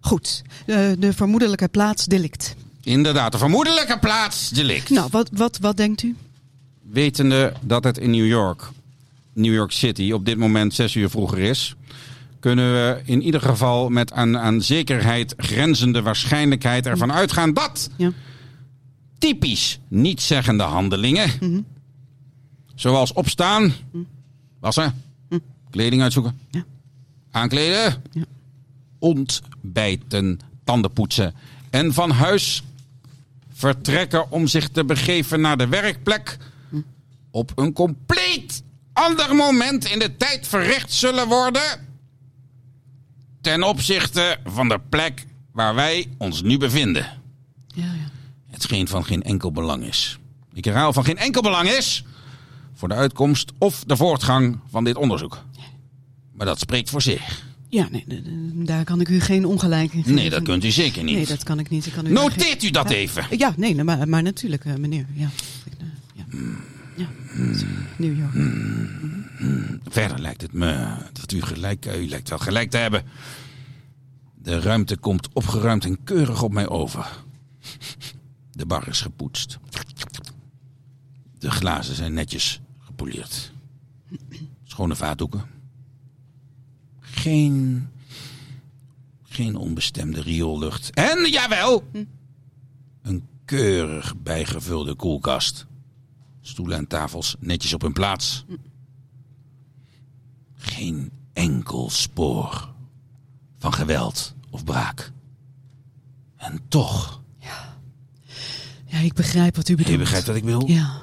Goed, de, de vermoedelijke plaats delict. Inderdaad, een vermoedelijke plaatsdelict. Nou, wat, wat, wat denkt u? Wetende dat het in New York, New York City, op dit moment zes uur vroeger is, kunnen we in ieder geval met aan, aan zekerheid grenzende waarschijnlijkheid ervan uitgaan dat Ja. typisch nietszeggende handelingen, Mhm. zoals opstaan, wassen, kleding uitzoeken, Mhm. Ja. aankleden, Ja. ontbijten, tanden poetsen en van huis vertrekken om zich te begeven naar de werkplek op een compleet ander moment in de tijd verricht zullen worden ten opzichte van de plek waar wij ons nu bevinden. Ja, ja. Hetgeen van geen enkel belang is. Ik herhaal van geen enkel belang is voor de uitkomst of de voortgang van dit onderzoek. Maar dat spreekt voor zich. ja nee, de- de- daar kan ik u geen ongelijk in geven. Nee, dat kunt u zeker Nee, niet. dat kan ik niet. Ik kan u daar geen- Noteert u dat Ja. even. Ja, nee, nee, maar, maar natuurlijk, eh, meneer. Ja. Ik, eh, ja. ja. New York. Hmm, Verder lijkt het me dat u gelijk, eh, u lijkt wel gelijk te hebben. De ruimte komt opgeruimd en keurig op mij over. De bar is gepoetst. De glazen zijn netjes gepoleerd. Schone vaatdoeken. Geen. Geen onbestemde rioollucht. En jawel! Een keurig bijgevulde koelkast. Stoelen en tafels netjes op hun plaats. Geen enkel spoor van geweld of braak. En toch. Ja, ik begrijp wat u bedoelt. Je begrijpt wat ik bedoel? Ja,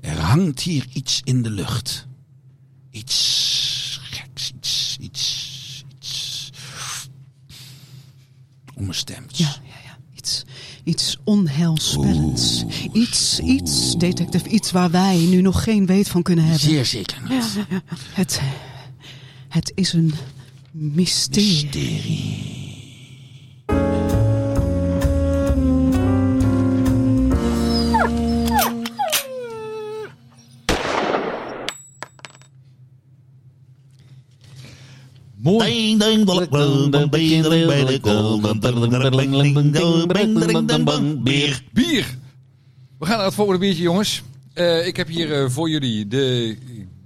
Er hangt hier iets in de lucht. Iets geks, iets, iets, iets onbestemds. ja, ja. ja. Iets, iets onheilspellends. Iets, iets, detective, iets waar wij nu nog geen weet van kunnen hebben. Zeer zeker niet. Het, het is een mysterie. Mysterie. Mooi. Bier. Bier. We gaan naar het volgende biertje, jongens. Eh, ik heb hier eh, voor jullie de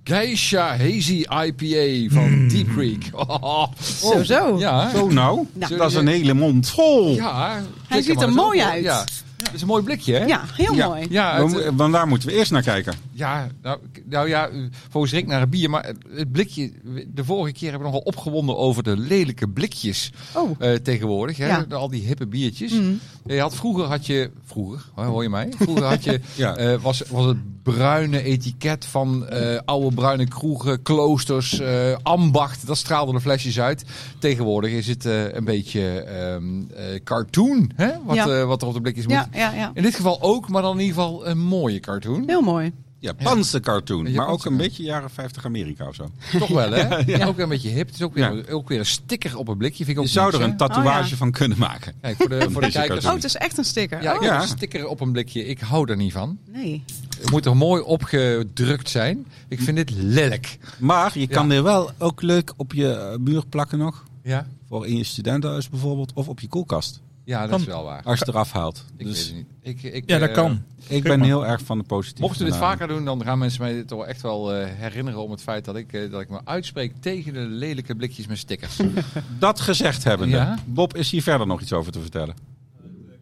Geisha Hazy IPA van Deep Creek. Oh. Mm. Zo, zo. Ja, hè? Zo nou, Nou. dat is een hele mond vol. ja hè? Hij Kijk ziet maar er eens mooi op, hè? uit. Ja. Dat is een mooi blikje, hè? Ja, heel Ja. mooi. Ja, We het, mo- Want daar moeten we eerst naar kijken. Ja, nou, k- nou ja, eh, volgens Rick naar een bier. Maar het blikje, de vorige keer hebben we nogal opgewonden over de lelijke blikjes Oh. eh, tegenwoordig. Hè? Ja. Mm. De- Al die hippe biertjes. Eh, Je had, vroeger had je, vroeger, hoor hoor je mij? Vroeger had je, Ja. eh, was, was het bruine etiket van eh, oude bruine kroegen, kloosters, eh, ambacht. Dat straalde de flesjes uit. Tegenwoordig is het eh, een beetje ehm, eh, cartoon, hè? Wat, Ja. eh, wat er op de blikjes moet. Ja, ja, ja. In dit geval ook, maar dan in ieder geval een mooie cartoon. Heel mooi. Japanse cartoon, Japanse maar ook een cartoon. beetje jaren 50 Amerika of zo. Toch wel, hè? Ook een beetje hip. Het is ook weer, Ja. ook weer een sticker op een blikje. Vind ik ook Je zou niks, er hè? een tatoeage Oh, ja. van kunnen maken. Kijk, voor de, voor de Deze kijkers. Oh, cartoon. het is echt een sticker. Ja, ik Oh, heb Ja. een sticker op een blikje. Ik hou er niet van. nee. Het moet er mooi opgedrukt zijn. Ik vind dit lelijk. Maar je kan Ja. er wel ook leuk op je eh, muur plakken nog. Ja, Voor in je studentenhuis bijvoorbeeld, of op je koelkast. ja dat Kan. is wel waar. Als je het eraf haalt. Ik dus weet het niet. Ik, ik, Ja, dat eh, kan. ik Kijk ben maar. heel erg van de positieve. Mochten we dit benadering. vaker doen, dan gaan mensen mij dit toch echt wel eh, herinneren om het feit dat ik, eh, dat ik me uitspreek tegen de lelijke blikjes met stickers. Dat gezegd hebbende, Ja. Bob is hier verder nog iets over te vertellen.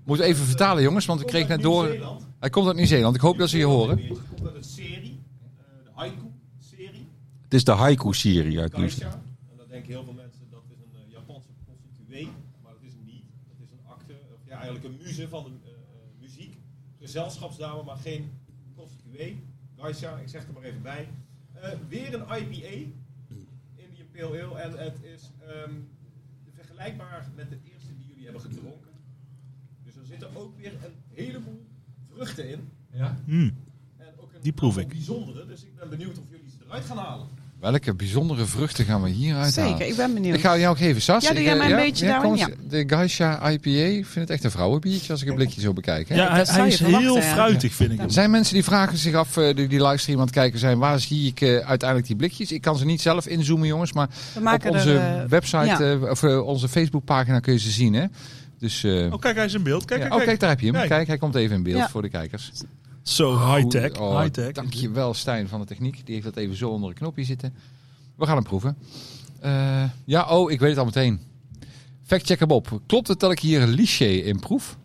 Moet even vertalen, jongens, want ik kreeg net door. Hij komt uit Nieuw-Zeeland. Ik hoop dat ze je horen. Het komt uit een serie, eh, de Haiku-serie. Het is de haiku-serie uit Nieuws. Kaisha. En dan denken heel veel mensen dat is een eh, Japanse prostituee. Maar dat is hem niet. Dat is een acte, of ja, eigenlijk een muze van de eh, eh, muziek. Gezelschapsdame, maar geen prostituee. Geisha, ik zeg er maar even bij. Eh, weer een IPA. Indian Pale Ale. En het is ehm, vergelijkbaar met de eerste die jullie hebben gedronken. Dus er zitten ook weer een heleboel vruchten in. Hmm. En ook een Die proef aantal ik. bijzondere. Dus ik ben benieuwd of jullie ze eruit gaan halen. Welke bijzondere vruchten gaan we hier uithalen? Zeker, ik ben benieuwd. Ik ga jou ook geven, Sas. Ja, doe Ik, jij eh, maar een beetje kom daarin, eens. De Geisha IPA, ik vind het echt een vrouwenbiertje als ik een blikje zo bekijk. Hè? Ja, hij, dat zou hij je is verwachten, heel ja. fruitig, vind ik. Er hem. zijn mensen die vragen zich af, eh, die, die livestream aan het kijken zijn, waar zie ik eh, uiteindelijk die blikjes? Ik kan ze niet zelf inzoomen, jongens, maar We op maken onze er... eh, website ja. eh, of eh, onze Facebookpagina kun je ze zien, hè? Dus, eh, Oh, kijk, hij is in beeld. Kijk, ja. kijk, oh, kijk. kijk, daar heb je hem. Kijk. Kijk, hij komt even in beeld Ja. voor de kijkers. Zo high-tech. Goed, oh, high-tech. Dankjewel, Stijn van de Techniek. Die heeft dat even zo onder een knopje zitten. We gaan hem proeven. Eh, ja, oh, ik weet het al meteen. Factchecker Bob. Klopt het dat ik hier liché in proef?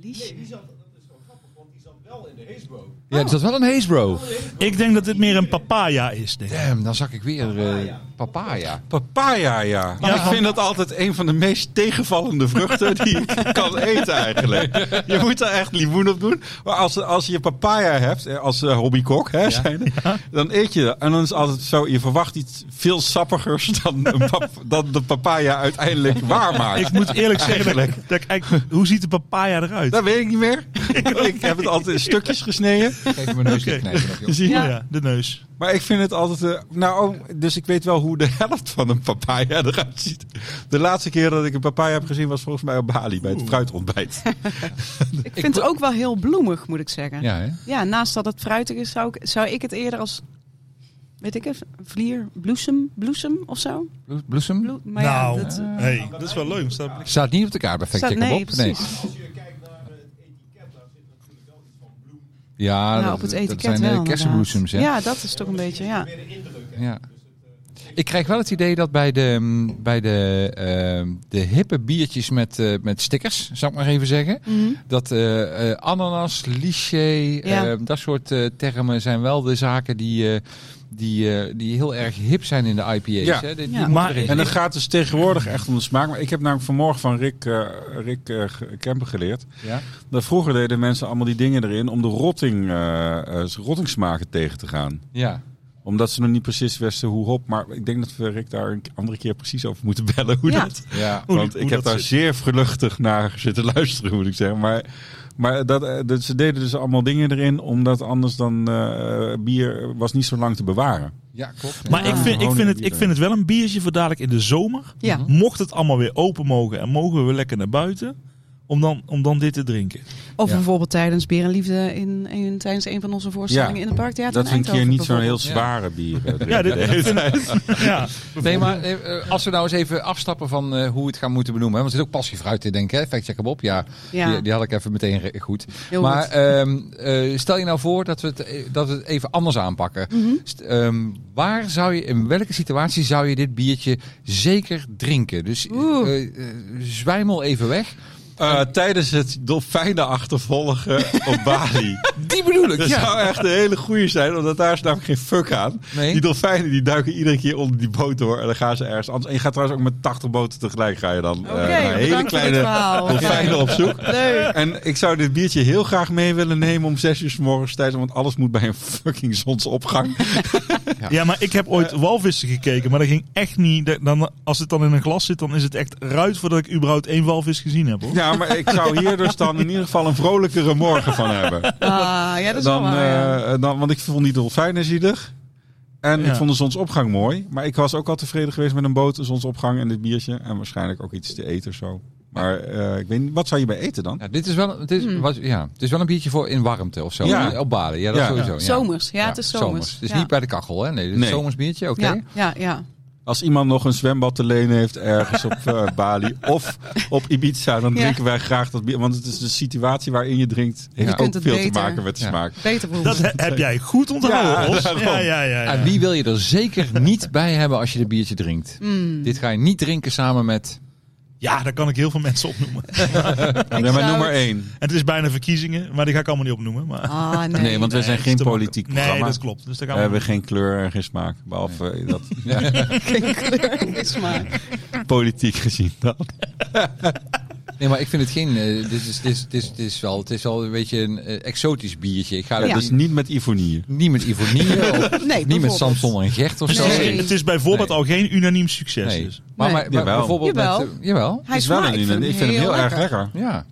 Liesje. Nee, die zat, dat is wel grappig, want die zat wel in de Hazebro. Ja, is dat wel een haze, bro? Ah. Ik denk dat dit meer een papaya is, denk ik. Damn, dan zak ik weer eh, papaya. Papaya, ja. Ja. Ik vind dat altijd een van de meest tegenvallende vruchten die je kan eten eigenlijk. Je moet daar echt limoen op doen. Maar als, als je papaya hebt, eh, als eh, hobbykok, hè, zijnde, dan eet je dat. En dan is het altijd zo, je verwacht iets veel sappigers dan, een pap- dan de papaya uiteindelijk waarmaakt. Ik moet eerlijk zeggen, dat, Eigenlijk. dat ik eigenlijk- hoe ziet de papaya eruit? Dat weet ik niet meer. ik heb het altijd in stukjes gesneden. Geef me mijn neus Oké. te knijpen. nog, joh. Zie je? ja. ja, de neus. Maar ik vind het altijd. eh, nou, oh, dus ik weet wel hoe de helft van een papaya eruit ziet. De laatste keer dat ik een papaya heb gezien was volgens mij op Bali bij het fruitontbijt. Ik vind het ook wel heel bloemig, moet ik zeggen. Ja, Ja, hè? naast dat het fruitig is, zou ik, zou ik het eerder als... Weet ik het? Vlier, bloesem, bloesem of zo? Blo- Bloesem? Blo- maar nou, ja, dat, eh, hey, dat is wel leuk. Staat op- Staat niet op de kaart bij staat, Factchecker nee, Bob. precies. Als je kijkt naar eh, het etiket, daar zit natuurlijk wel iets van bloem. Ja, Nou, dat- op het dat, etiket zijn wel, eh, inderdaad. kersenbloesems, hè? Ja, dat is toch een beetje, ja. Meer de indruk, hè? Ja. Dus eh, Ik krijg wel het idee dat bij de, mm, bij de, ehm, de hippe biertjes met, eh, met stickers, zou ik maar even zeggen. Dat eh, eh, ananas, liché, Mhm. Ja. eh, dat soort eh, termen zijn wel de zaken die, eh, die, eh, die heel erg hip zijn in de IPA's. Ja. Hè? Die- die Ja. moeten Maar- erin. En dat gaat dus tegenwoordig echt om de smaak. Maar ik heb namelijk vanmorgen van Rick, eh, Rick eh, G- Kemper geleerd. ja? Dat vroeger deden mensen allemaal die dingen erin om de rotting, eh, eh, rottingsmaken tegen te gaan. ja. Omdat ze nog niet precies wisten hoe hop. Maar ik denk dat we Rick daar een andere keer precies over moeten bellen. Hoe Ja. dat ja. Hoe Want die- ik hoe heb dat daar zit. zeer vluchtig naar zitten luisteren, moet ik zeggen. Maar, maar dat, eh, dat, ze deden dus allemaal dingen erin, omdat anders dan eh, bier was niet zo lang te bewaren. Ja, klopt. Maar ik Ja. vind, ik, Honing vind en het, bier ik vind het wel een biertje voor dadelijk in de zomer. Ja. Mocht het allemaal weer open mogen en mogen we lekker naar buiten. om dan, om dan dit te drinken. Of Ja. bijvoorbeeld tijdens Beer en Liefde in, in- tijdens een van onze voorstellingen Ja. in het parktheater Dat in we een keer Eindhoven niet zo'n heel bijvoorbeeld. zware bier eh, Ja, dit, drinken. dat vind ik- ja. Nee, maar eh, eh, als we nou eens even afstappen van eh, hoe we het gaan moeten benoemen. hè, Want er zit ook passiefruit in, denk ik. hè? Fact check hem op. Ja, Ja. Die, die had ik even meteen re- goed. Heel maar goed. ehm, eh, stel je nou voor dat we het, eh, dat we het even anders aanpakken. Mhm. St- ehm, waar zou je, in welke situatie zou je dit biertje zeker drinken? Dus Oeh. eh, eh, zwijmel even weg. Eh, tijdens het dolfijnen achtervolgen eh, op Bali. Die bedoel ik, Dat ja. zou echt een hele goeie zijn, omdat daar is namelijk geen fuck aan. Nee. Die dolfijnen die duiken iedere keer onder die boot door en dan gaan ze ergens anders. En je gaat trouwens ook met 80 boten tegelijk ga je dan eh, Oké, naar hele bedankt voor dit kleine verhaal. dolfijnen op zoek. Leuk. En ik zou dit biertje heel graag mee willen nemen om 6 uur s morgens tijdens, want alles moet bij een fucking zonsopgang. Ja, maar ik heb Eh. ooit walvissen gekeken, maar dat ging echt niet. dat- Dan, als het dan in een glas zit, dan is het echt ruit voordat ik überhaupt één walvis gezien heb. Hoor. Ja, maar ik zou hier dus dan in ieder geval een vrolijkere morgen van hebben. Ah, ja, dat is dan, wel waar, ja. eh, dan, want ik vond die dolfijnen zielig. En Ja. ik vond de zonsopgang mooi. Maar ik was ook al tevreden geweest met een boot, een zonsopgang en dit biertje. En waarschijnlijk ook iets te eten of zo. Maar eh, ik weet niet, wat zou je bij eten dan? Ja, dit is wel, het is, Hmm. wat, ja, het is wel een biertje voor in warmte of zo. Ja. hè, Op Bali, ja, dat Ja. sowieso. oh, Ja. Zomers, ja, het is zomers. Het is Ja. niet bij de kachel, hè? Nee, dit is Nee. een zomers biertje, oké. Ja, ja, ja. Als iemand nog een zwembad te lenen heeft ergens op eh, Bali of op Ibiza, dan Ja. drinken wij graag dat bier. Want het is de situatie waarin je drinkt, heeft Je ook kunt veel het te beter. maken met de Ja. smaak. Beter proeven. Dat he- heb jij goed onthouden, Ja, Os. daarom. Ja, ja, ja. ja. En wie wil je er zeker niet bij hebben als je dit biertje drinkt? Mm. Dit ga je niet drinken samen met... Ja, daar kan ik heel veel mensen opnoemen. Ja, maar zou nummer het- één. En het is bijna verkiezingen, maar die ga ik allemaal niet opnoemen. Maar, Ah, nee. Nee, want wij zijn dat is geen te makkelijk. politiek nee, programma. dat klopt. Dus We daar gaan we... hebben geen kleur en geen smaak. Behalve eh, dat Geen kleur, geen smaak. politiek gezien. Dan. Nee, maar ik vind het geen... eh, dit, is, dit, is, dit, is, dit is wel, het is wel een beetje een eh, exotisch biertje. Ik ga er Ja. Dus dus niet met ivonieën. niet met Ivonie of Nee, niet met bijvoorbeeld. Samson en Gert of Dus zo. het is- Nee. Het is bijvoorbeeld Nee. al geen unaniem succes. Nee. Dus. Maar, Nee. maar, maar Jawel. bijvoorbeeld met... Jawel. eh, jawel. Hij smaakt. een- ik vind hem heel erg lekker. Ja.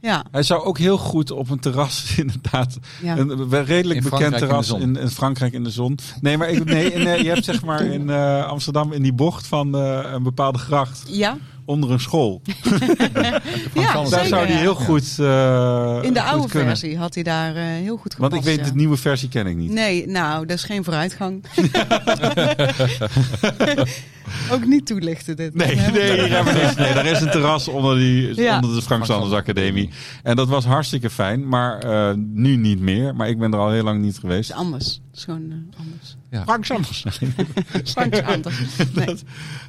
Ja, Hij zou ook heel goed op een terras, inderdaad. Ja. Een we- redelijk In Frankrijk in bekend de terras zon. in, in Frankrijk in de zon. Nee, maar ik, nee, nee, je hebt zeg maar in eh, Amsterdam in die bocht van eh, een bepaalde gracht ja. onder een school. ja Sanders. Daar zeker, zou die ja. heel goed eh, In de goed oude kunnen. versie had hij daar eh, heel goed gepast. Want ik weet, ja. de nieuwe versie ken ik niet. Nee, nou, dat is geen vooruitgang. Ook niet toelichten dit. Nee, Ja, nee, hier hebben we niks. Nee, daar is een terras onder, die, Ja. onder de Frank Sanders Academie. En dat was hartstikke fijn, maar eh, nu niet meer. Maar ik ben er al heel lang niet geweest. Het is anders. Het is gewoon eh, anders. Frank Sanders. Het is gewoon anders. Nee.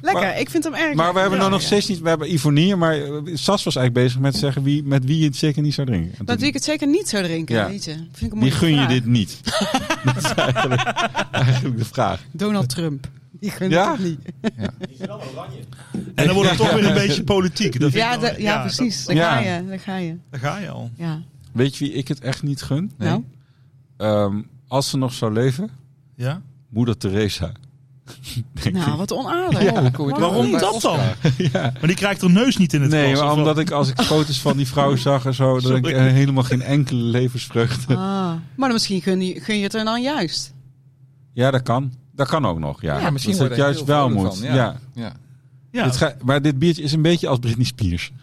Lekker, maar- ik vind hem erg Maar we hebben ja, nou nog ja. steeds niet. We hebben Ivonie, maar eh, Sas was eigenlijk bezig met zeggen wie, met wie je het zeker niet zou drinken. En Dat toen- ik het zeker niet zou drinken, Ja. weet je. Vind ik een die moeilijke gun je vraag. dit niet. dat is eigenlijk, eigenlijk de vraag. Donald Trump. Die gunt Ja? het niet. Die is wel oranje. En dan wordt het toch weer een beetje politiek. Dat vind Ja, ik wel- de- ja, precies. dat- Ja. Daar ga je. Daar ga je. daar ga je al. Ja. Weet je wie ik het echt niet gun? Nou, Ehm, als ze nog zou leven, Ja? moeder Teresa. nou, wat onaardig. Oh, hoe kom je Waarom bij dat dan? Oscar? Maar die krijgt er neus niet in het Nee, glas, maar of omdat wat? ik als ik foto's van die vrouw zag en zo, dat ik Sorry. eh, helemaal geen enkele levensvreugde. Ah, maar dan misschien gun je, gun je het er dan juist. Ja, dat kan. Dat kan ook nog. Ja, Ja, misschien dat wordt het er juist heel wel vrolijk moet. van, ja. ja. Ja. Ja, Dit ga- maar dit biertje is een beetje als Britney Spears.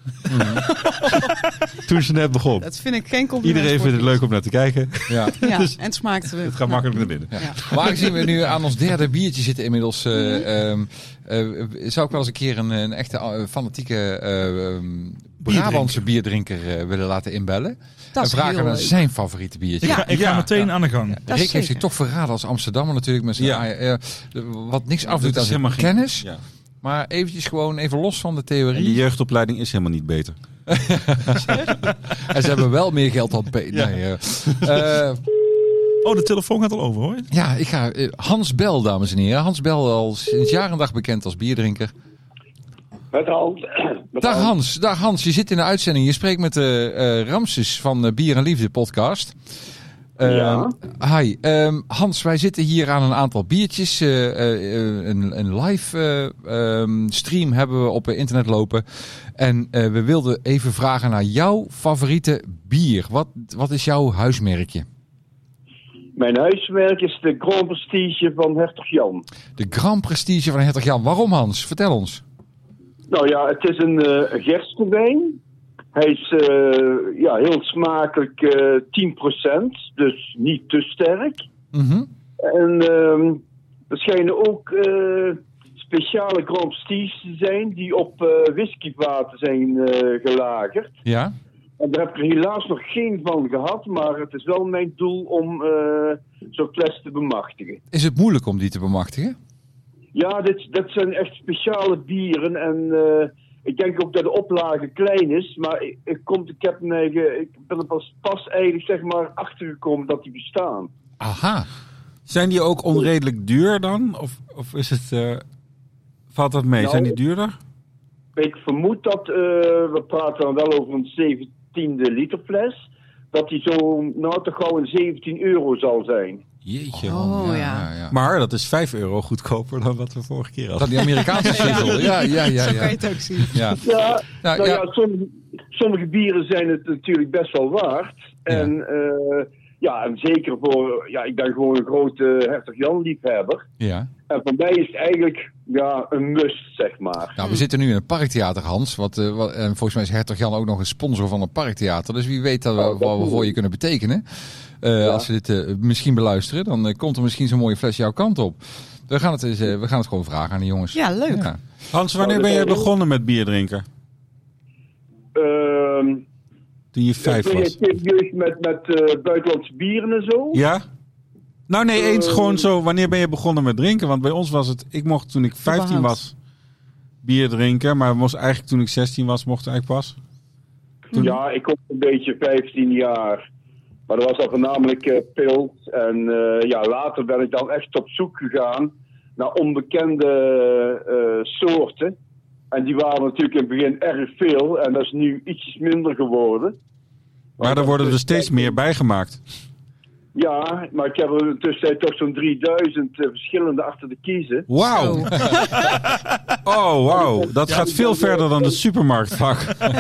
Toen ze net begon. Dat vind ik geen compliment. Iedereen voor vindt het iets. leuk om naar te kijken. Dus ja. Ja, en het smaakt weer. Het gaat makkelijk naar binnen. Ja. Ja. Maar aangezien we nu aan ons derde biertje zitten inmiddels, eh, Mm-hmm. ehm, eh, zou ik wel eens een keer een, een echte eh, fanatieke eh, ehm, Brabantse bierdrinker eh, willen laten inbellen. Dat is en vragen heel naar leuk. zijn favoriete biertje. ik ga, ik ga ja. meteen aan de gang. Dat Rick heeft zeker. zich toch verraden als Amsterdammer natuurlijk. Met zijn, Ja. eh, eh, de- wat niks afdoet is aan zijn helemaal geen- kennis. Ja. Maar eventjes gewoon even los van de En theorie. die eh, jeugdopleiding is helemaal niet beter. En ze hebben wel meer geld dan... P- nee, eh. Eh, Oh, de telefoon gaat al over hoor. ja, ik ga... eh, Hans Bel, dames en heren. Hans Bel, al sinds jaar en dag bekend als bierdrinker. Met al. met Dag al- Hans, dag Hans. Je zit in de uitzending. Je spreekt met eh, eh, Ramses van de Bier en Liefde podcast. Eh, Ja. Hi, Ehm, Hans, wij zitten hier aan een aantal biertjes. Eh, eh, eh, een, een live eh, ehm, stream hebben we op eh, internet lopen. En eh, we wilden even vragen naar jouw favoriete bier. Wat, wat is jouw huismerkje? Mijn huiswerk is de Grand Prestige van Hertog Jan. De Grand Prestige van Hertog Jan. Waarom Hans? Vertel ons. Nou ja, het is een eh gerstewijn. Hij is eh, ja, heel smakelijk eh 10%, dus niet te sterk. Mhm. En ehm er schijnen ook eh, speciale Grand Prix te zijn die op eh whiskyvaten zijn eh, gelagerd. Ja. En daar heb ik er helaas nog geen van gehad, maar het is wel mijn doel om eh, zo'n fles te bemachtigen. Is het moeilijk om die te bemachtigen? Ja, dit, dat zijn echt speciale bieren. En eh, ik denk ook dat de oplage klein is. Maar ik, ik, kom, ik, heb mij ge- ik ben er pas, pas eigenlijk zeg maar, achtergekomen dat die bestaan. Aha. Zijn die ook onredelijk duur dan? Of, of is het, eh, valt dat mee? Nou, Zijn die duurder? Ik vermoed dat, eh, we praten dan wel over een 17e liter fles, dat die zo nou toch gauw een 17 euro zal zijn. Jeetje. Oh, ja. Maar dat is 5 euro goedkoper dan wat we vorige keer hadden. Dat die Amerikaanse single. Ja, ja, ja. Zo kan je ja. het ook zien. ja. Ja, Nou, nou ja. ja, sommige, sommige bieren zijn het natuurlijk best wel waard. En, eh, ja, en zeker voor, ja, ik ben gewoon een grote Hertog Jan liefhebber. ja. En voor mij is het eigenlijk ja, een must, zeg maar. Nou, we zitten nu in het Parktheater, Hans. Wat, eh, wat- en volgens mij is Hertog Jan ook nog een sponsor van het Parktheater. Dus wie weet dat Oh, we, wat we voor je kunnen betekenen. Eh, Als we dit eh, misschien beluisteren, dan eh, komt er misschien zo'n mooie fles jouw kant op. We gaan het, eens, eh, we gaan het gewoon vragen aan de jongens. Ja, leuk. Ja. Hans, wanneer ben jij begonnen met bier drinken? Ehm Toen je vijf ben was. je serieus met, met eh, buitenlandse bieren en zo? Ja? Nou nee, eens Eh, gewoon zo. Wanneer ben je begonnen met drinken? Want bij ons was het, ik mocht toen ik 15 Überhaupt. was bier drinken. Maar moest eigenlijk toen ik 16 was, mocht ik eigenlijk pas. Ja, ik was een beetje 15 jaar. Maar dat was dan voornamelijk eh pil. En eh, ja, later ben ik dan echt op zoek gegaan naar onbekende eh, soorten. En die waren natuurlijk in het begin erg veel. En dat is nu iets minder geworden. Maar daar worden er steeds meer bijgemaakt. Ja, maar ik heb er intussen toch zo'n 3000 verschillende achter te kiezen. Wauw. Zo. Oh, wauw. Dat gaat veel verder dan het supermarktvak.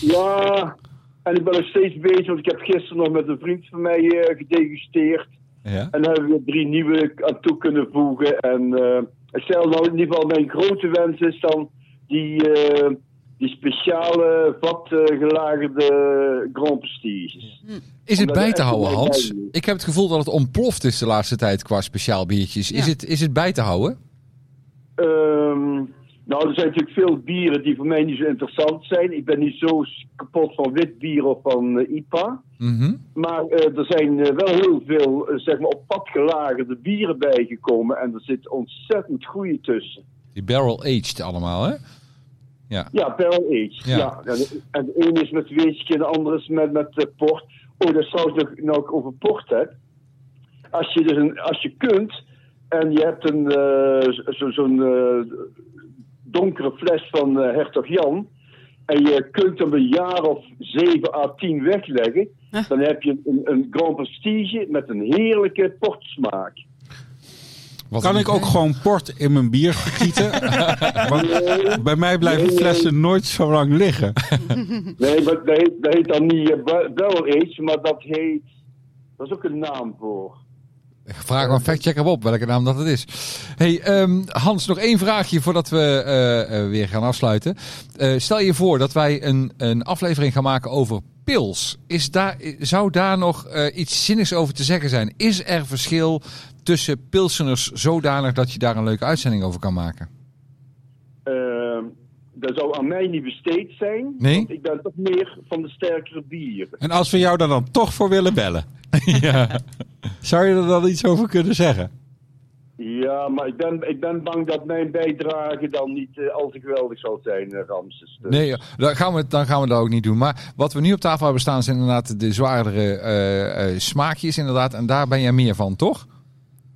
Ja, en ik ben nog steeds bezig, want ik heb gisteren nog met een vriend van mij eh, gedegusteerd. Ja. En daar hebben we drie nieuwe aan toe kunnen voegen. En eh, ik stel nou in ieder geval mijn grote wens is dan die, eh, die speciale vatgelagerde Grand Prestiges. Is het Omdat bij er te echt houden, een mooi Hans? bij is. Ik heb het gevoel dat het ontploft is de laatste tijd qua speciaal biertjes. Is, Ja. het, is het bij te houden? Ehm, nou, er zijn natuurlijk veel bieren die voor mij niet zo interessant zijn. Ik ben niet zo kapot van wit bier of van eh, IPA. Mhm. Maar eh, er zijn eh, wel heel veel eh, zeg maar op pad gelagerde bieren bijgekomen. En er zit ontzettend goede tussen. Die barrel-aged allemaal, hè? Ja. Ja, barrel aged. Ja. Ja. En, de- en de ene is met whisky en de andere is met, met eh, port. Oh, dat is trouwens nog, nou ik over port heb. Als je, dus een, als je kunt en je hebt een, eh, zo- zo- zo'n eh, donkere fles van eh, Hertog Jan. En je kunt hem een jaar of 7 à 10 wegleggen. Dan heb je een, een Grand Prestige met een heerlijke portsmaak. Wat Kan een ik ook idee. gewoon port in mijn bier gieten? Want bij mij blijven flessen nooit zo lang liggen. Nee, maar dat heet, dat heet dan niet eh, ba- barrel aged, maar dat heet. Dat is ook een naam voor. Vraag aan factchecker Bob welke naam dat het is. Hey, ehm, Hans, nog één vraagje voordat we eh, eh, weer gaan afsluiten. Eh, stel je voor dat wij een, een aflevering gaan maken over pils. Is daar, zou daar nog eh, iets zinnigs over te zeggen zijn? Is er verschil tussen pilseners zodanig dat je daar een leuke uitzending over kan maken? Ehm, dat zou aan mij niet besteed zijn. Nee? Want ik ben toch meer van de sterkere bieren. En als we jou daar dan toch voor willen bellen, ja. zou je er dan iets over kunnen zeggen? Ja, maar ik ben, ik ben bang dat mijn bijdrage dan niet eh, al te geweldig zal zijn, eh, Ramses. Dus- Nee, dan gaan, we, dan gaan we dat ook niet doen. Maar wat we nu op tafel hebben staan zijn inderdaad de zwaardere eh, eh, smaakjes inderdaad. En daar ben jij meer van, toch?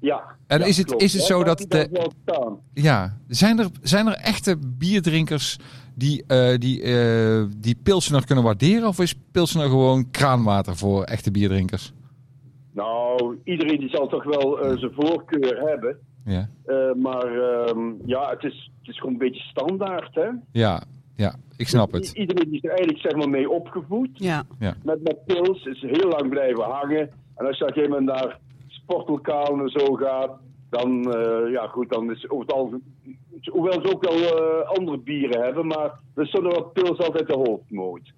Ja. En ja, is het- klopt. is het Ja, zo laat dat die de- dan wel staan. Ja, zijn er, zijn er echte bierdrinkers die, eh die, eh, die Pilsener kunnen waarderen? Of is Pilsener gewoon kraanwater voor echte bierdrinkers? Nou, iedereen die zal toch wel eh, zijn voorkeur hebben. Ja, Eh, maar ehm, ja, het is, het is gewoon een beetje standaard, hè? ja, ja ik snap I- het. iedereen is er eigenlijk zeg maar mee opgevoed. Ja. met, met pils is heel lang blijven hangen. En als je op een gegeven moment naar sportlokalen en zo gaat, Dan, eh, ja goed, dan is over het algemeen- Hoewel ze ook wel eh, andere bieren hebben, maar er stond wel pils altijd de hoofdmoot.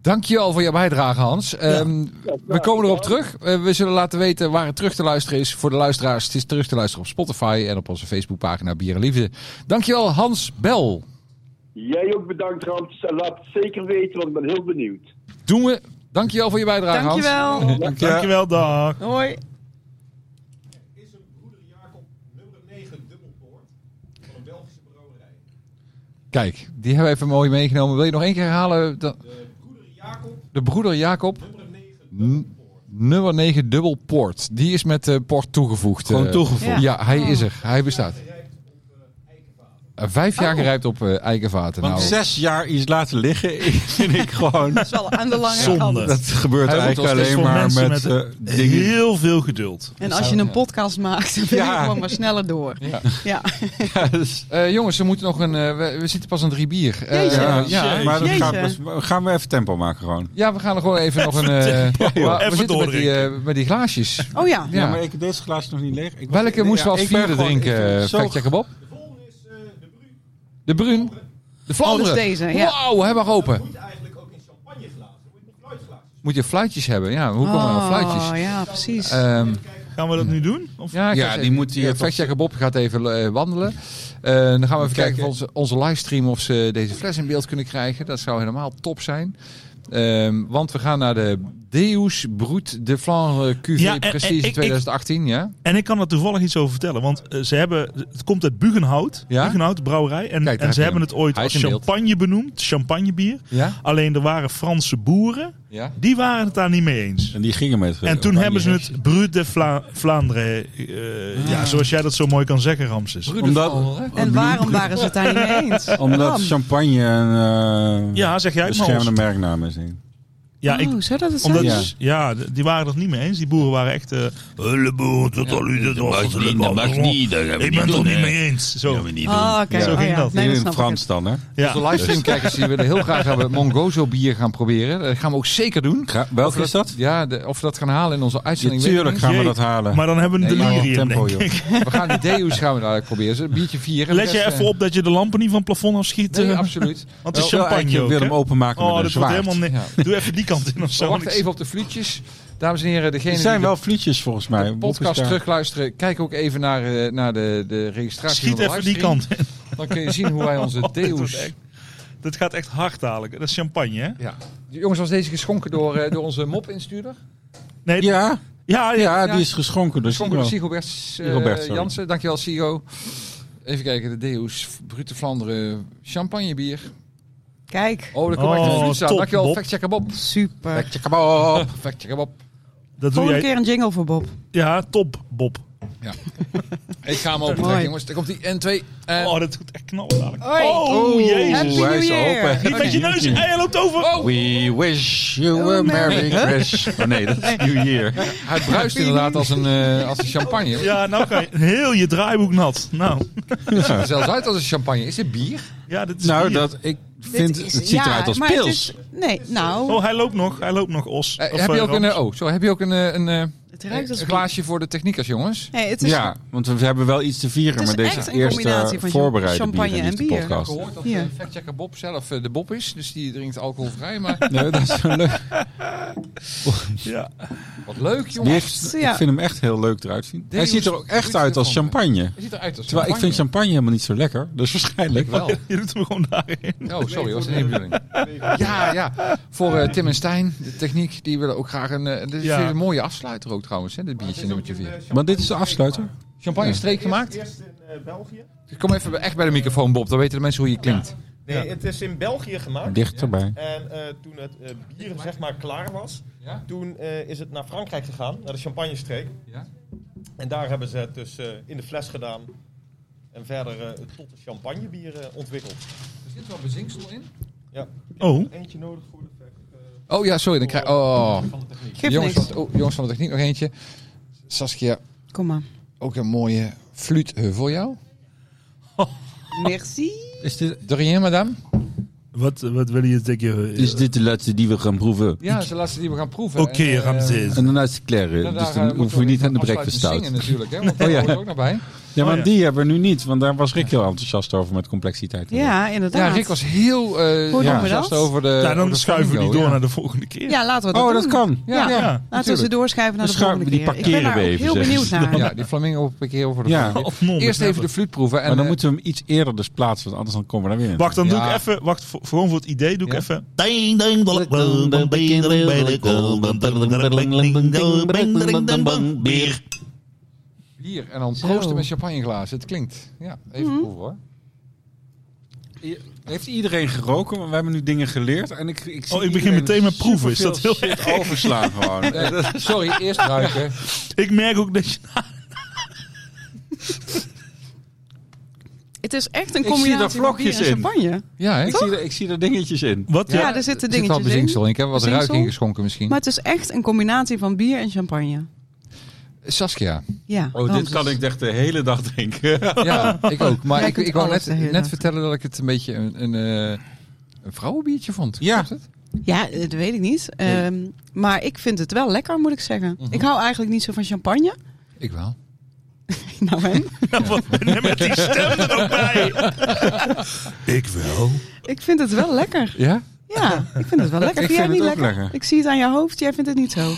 Dankjewel voor je bijdrage, Hans. Ehm, we komen erop terug. Eh, we zullen laten weten waar het terug te luisteren is. Voor de luisteraars, het is terug te luisteren op Spotify en op onze Facebookpagina Bier en Liefde. Dankjewel, Hans Bel. Jij ook bedankt, Rams. En laat het zeker weten, want ik ben heel benieuwd. Doen we. Dankjewel voor je bijdrage, Hans. Dankjewel. Dankjewel, dag. Hoi. Is een broeder Jacob nummer 9 dubbelpoort van een Belgische brouwerij. Kijk, die hebben we even mooi meegenomen. Wil je nog één keer herhalen? De, De broeder Jacob de broeder Jacob, nummer 9 n- nummer 9 dubbel Poort. Die is met eh, Port toegevoegd. Gewoon eh. toegevoegd. Ja. Ja, hij is er. Hij bestaat. gerijpt op eh eikenvaten. Eh, Vijf jaar Oh. gerijpt op eh, eikenvaten. Want Nou, zes jaar iets laten liggen vind ik gewoon... Dat is wel aan de lange Zonde. kant. Dat gebeurt Hij moet eigenlijk als- alleen voor maar mensen met, met eh, dingen. Heel veel geduld. En als je nou- een podcast maakt, dan ben je Ja. gewoon maar sneller door. Ja. Ja, dus- eh, jongens, we moeten nog een. eh, we, we zitten pas aan drie bier. Eh, Jeetje. ja, ja, ja, maar dat Jeetje. gaat best- gaan we even tempo maken gewoon. Ja, we gaan er gewoon even nog een. eh, joh. maar we Even zitten met die, eh, met die glaasjes. Oh ja. Ja. Ja, maar ik deze glaasje nog niet leeg. Ik was- Welke moesten we ja, als ik ben vierde gewoon- ik vind drinken, het zo- Vetjakke Bob? De volgende is eh, de Bru. De Bruin. De Vlaanderen. Oh, dat is deze, ja. Wauw, hebben we Dat open. moet eigenlijk ook in champagneglazen. Moet je in fluitglazen. Moet je fluitjes hebben? Ja, hoe komen we aan fluitjes? Oh ja, precies. Ehm, Gaan we dat nu doen? Of ja, ik Ja, ga- die moet hier eh, tot- Vetjakke Bob gaat even eh, wandelen. Eh, dan gaan we even kijken kijken. of onze, onze livestream of ze deze fles in beeld kunnen krijgen. Dat zou helemaal top zijn. Ehm, want we gaan naar de Deus Broed de Flandre QV Ja, en- en ik- Prestige ik- 2018. Ja? En ik kan er toevallig iets over vertellen. Want eh, ze hebben, het komt uit Bugenhout. Ja? Bugenhout, de brouwerij. En, Kijk, daar en heb ze je hebben hem. het ooit Hij als is in beeld. champagne benoemd. Champagnebier. Ja? Alleen er waren Franse boeren. ja? Die waren het daar niet mee eens. En die gingen met. Oh, En toen hebben ze het Brut de Vla- Vlaanderen. eh, Ja, zoals jij dat zo mooi kan zeggen, Ramses. Broed Ah. de Omdat- Flandre. en waarom waren ze het daar niet mee eens? Omdat Bram. champagne een eh, Ja, zeg jij het maar. beschermde Hans. merknaam is. denk ik. Ja, ik, oh, zou dat het omdat, zijn? Ja. ja. d- die waren het niet mee eens. Die boeren waren echt. eh, Hele boeren, tot al u, dat was het allemaal. Ik ben het toch niet mee eens. Zo. Oh, oké. Ah, Zo Oh, ging ja. dat. Nee, Hier dat in snap ik. Frans dan, hè? Ja. De livestreamkijkers die willen heel graag hebben Mongozo bier gaan proberen. Dat gaan we ook zeker doen. Ga- welke is dat? Ja, de- of we dat gaan halen in onze uitzending. weet ik Natuurlijk gaan we Jee. dat halen. Maar dan hebben we een Nee, maar delirium, tempo, denk joh. ik. niet. We gaan de Deus gaan we dadelijk proberen. Zo, Biertje 4. Let je eh, even op dat je de lampen niet van het plafond afschiet. Nee, eh, absoluut. Want het is Ik wil eigenlijk champagne ook, Willem hè? openmaken Oh, met dat een wordt zwaard. helemaal niks. Doe even die kant in of We zo. wachten even op de flietjes. Dames en heren, degene Er zijn die wel vlietjes volgens de mij. Bob is podcast daar. terugluisteren, kijk ook even naar, eh, naar de, de registratie Schiet van de even die livestream. kant in. Dan kun je zien hoe wij onze Oh, dit wordt Deus... echt- Dat gaat echt hard dadelijk. Dat is champagne, hè? Ja. Jongens, was deze geschonken door, eh, door onze mop-instuurder? Nee, ja, Ja, ja, ja, Ja. die is geschonken. Dus Geschonken door Sigobert eh, Sigobert, sorry. Jansen. Dankjewel, Sigo. Even kijken, de Deus Brute Vlaanderen champagnebier. Kijk, Oh, daar komt echt een Oh, vlies aan. top, Dankjewel, Bob. factchecker Bob. super. Factchecker Bob. Factchecker Bob. dat doe Volgende jij. keer een jingle voor Bob. Ja, top, Bob. Ik ga hem Mooi. open trekken, jongens. Daar komt die N2. Eh, Oh, dat doet echt knap dadelijk. Hoi. Oh, Happy jezus. hij New is al Year. open. Niet met je neus. Hey, oh. hij loopt over. Oh, We wish you a a merry merry Christmas. Oh nee, dat is New Year. hij bruist inderdaad als een, eh, als een champagne. Ja, nou ga je heel je draaiboek nat. Nou, Ziet er zelfs uit als een champagne. Is dit bier? ja, dit is Nou, bier. dat, ik Dit vind, is- het ziet ja, eruit als maar het pils. is- nee, nou, Oh, hij loopt nog. Hij loopt nog, Os. Eh, Of, heb, je eh, ook een, Rams. eh, oh, zo, heb je ook een, eh, een, eh, het ruikt als een glaasje voor de techniekers, jongens? Nee, het is, Ja, want we hebben wel iets te vieren. Het is Maar deze echt een eerste combinatie van voorbereide champagne bier en is de bier. Ik heb podcast. gehoord dat Ja. eh, factchecker Bob zelf eh, de Bob is. Dus die drinkt alcoholvrij. Maar Nee, dat is wel leuk. Ja. wat leuk, Die jongens. heeft, Ja. Ik vind hem echt heel leuk eruit zien. Hij Deus ziet er ook echt Brute uit als Vlaanderen. champagne. Hij ziet eruit als Terwijl ik vind champagne helemaal niet zo lekker. Dus waarschijnlijk Ik wel. Je doet hem gewoon daarin. Oh, sorry, was het een bedoeling. Ja, ja. Voor eh, Tim en Stijn, de techniek, die willen ook graag een... eh, dit is Ja. weer een mooie afsluiter ook trouwens, hè, dit biertje nummertje 4. Maar dit is de afsluiter. Champagne streek gemaakt? Eerst in eh, België. Kom even bij- echt bij de microfoon, Bob. Dan weten de mensen hoe je klinkt. Nee, het is in België gemaakt. Dichterbij. En eh, toen het eh, bier zeg maar klaar was, Ja? toen eh, is het naar Frankrijk gegaan, naar de Champagnestreek. Ja. En daar hebben ze het dus eh, in de fles gedaan en verder eh, tot een champagnebier eh, ontwikkeld. Er zit wel bezinksel in. Oh, Eentje nodig voor de effect. Oh ja, sorry. Dan krijg oh, geeft jongens, niks. van, oh, jongens van de techniek nog eentje. Saskia, Kom maar. ook een mooie fluit eh, voor jou. Merci. Is dit, De rien, madame. Wat, wat wil je zeggen? Is dit de laatste die we gaan proeven? Ja, dat is de laatste die we gaan proeven. Oké, En, eh, Ramses. En daarnaast kleren. en Dus daar, eh, dan moeten hoeven we nog niet aan de even breakfast afsluitend stout. zingen natuurlijk, hè? Want daar ja. hoort ook nog bij. Ja, Oh, maar ja. die hebben we nu niet. Want daar was Rick heel enthousiast over met complexiteit. Ja, Ja, inderdaad. Rick was heel eh doen we enthousiast dat? over de. Nou, over dan de schuiven we die flamingo, door ja. naar de volgende keer. Ja, laten we dat Oh, doen. dat kan. Ja, Ja. ja, Laten we ze natuurlijk. doorschuiven naar de Dus schuiven volgende we keer. die ik ben daar parkeren ook we heel even, benieuwd zeg. naar. Ja, die flamingo op een keer over de Ja. volgende Of non, keer. Eerst even de whatever. fluit proeven. En, Maar dan eh, moeten we hem iets eerder dus plaatsen. Want anders dan komen we daar weer in. Wacht, dan doe ik Ja. even. Wacht, voor, gewoon voor het idee doe ik Ja. even. Bier. bier en dan Zo. Mhm. proosten met champagneglazen. Het klinkt. Ja, even proeven hoor. Heeft iedereen geroken? Want we hebben nu dingen geleerd. En ik, ik zie Oh, ik iedereen begin meteen met proeven. Is dat superveel heel shit overslaan gewoon. Eh, sorry, eerst ruiken. Ik merk ook dat je. Het is echt een Ik zie daar combinatie van bier vlokjes en in. champagne. Ja, hè? ik, zie er, ik zie er dingetjes in. Wat? Ja, Ja. er zitten Er zit wel dingetjes bezinksel in. in. Ik heb wat ruik Bezinksel. ingeschonken misschien. Maar het is echt een combinatie van bier en champagne. Saskia. Ja, Oh, dit Ramses. kan ik echt de hele dag drinken. Ja, ik ook. Maar Jij ik, kunt ik wou alles net, de hele net dag. vertellen dat ik het een beetje een, een, eh, een vrouwenbiertje vond. Ja. Klopt het? Ja, eh, dat weet ik niet. Nee. Ehm, maar ik vind het wel lekker, moet ik zeggen. Mhm. Ik hou eigenlijk niet zo van champagne. Ik wel. Nou, hè? Wat ben je met die stem er ook bij? ik wel. ik vind het wel lekker. Ja? Ja, ik vind het wel lekker. Ik Vind jij vind niet het ook lekker? lekker. Ik zie het aan je hoofd, jij vindt het niet zo.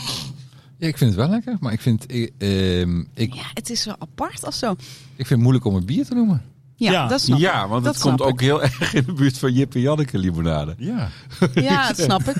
Ja, ik vind het wel lekker. Maar ik vind, eh, ehm, ik, Ja, het is wel apart of zo. ik vind het moeilijk om het bier te noemen. Ja, Ja. dat snap ik. Ja, want Dat het komt snap ik. ook heel erg in de buurt van Jip en Janneke limonade. Ja. Ja, dat snap ik. Nee,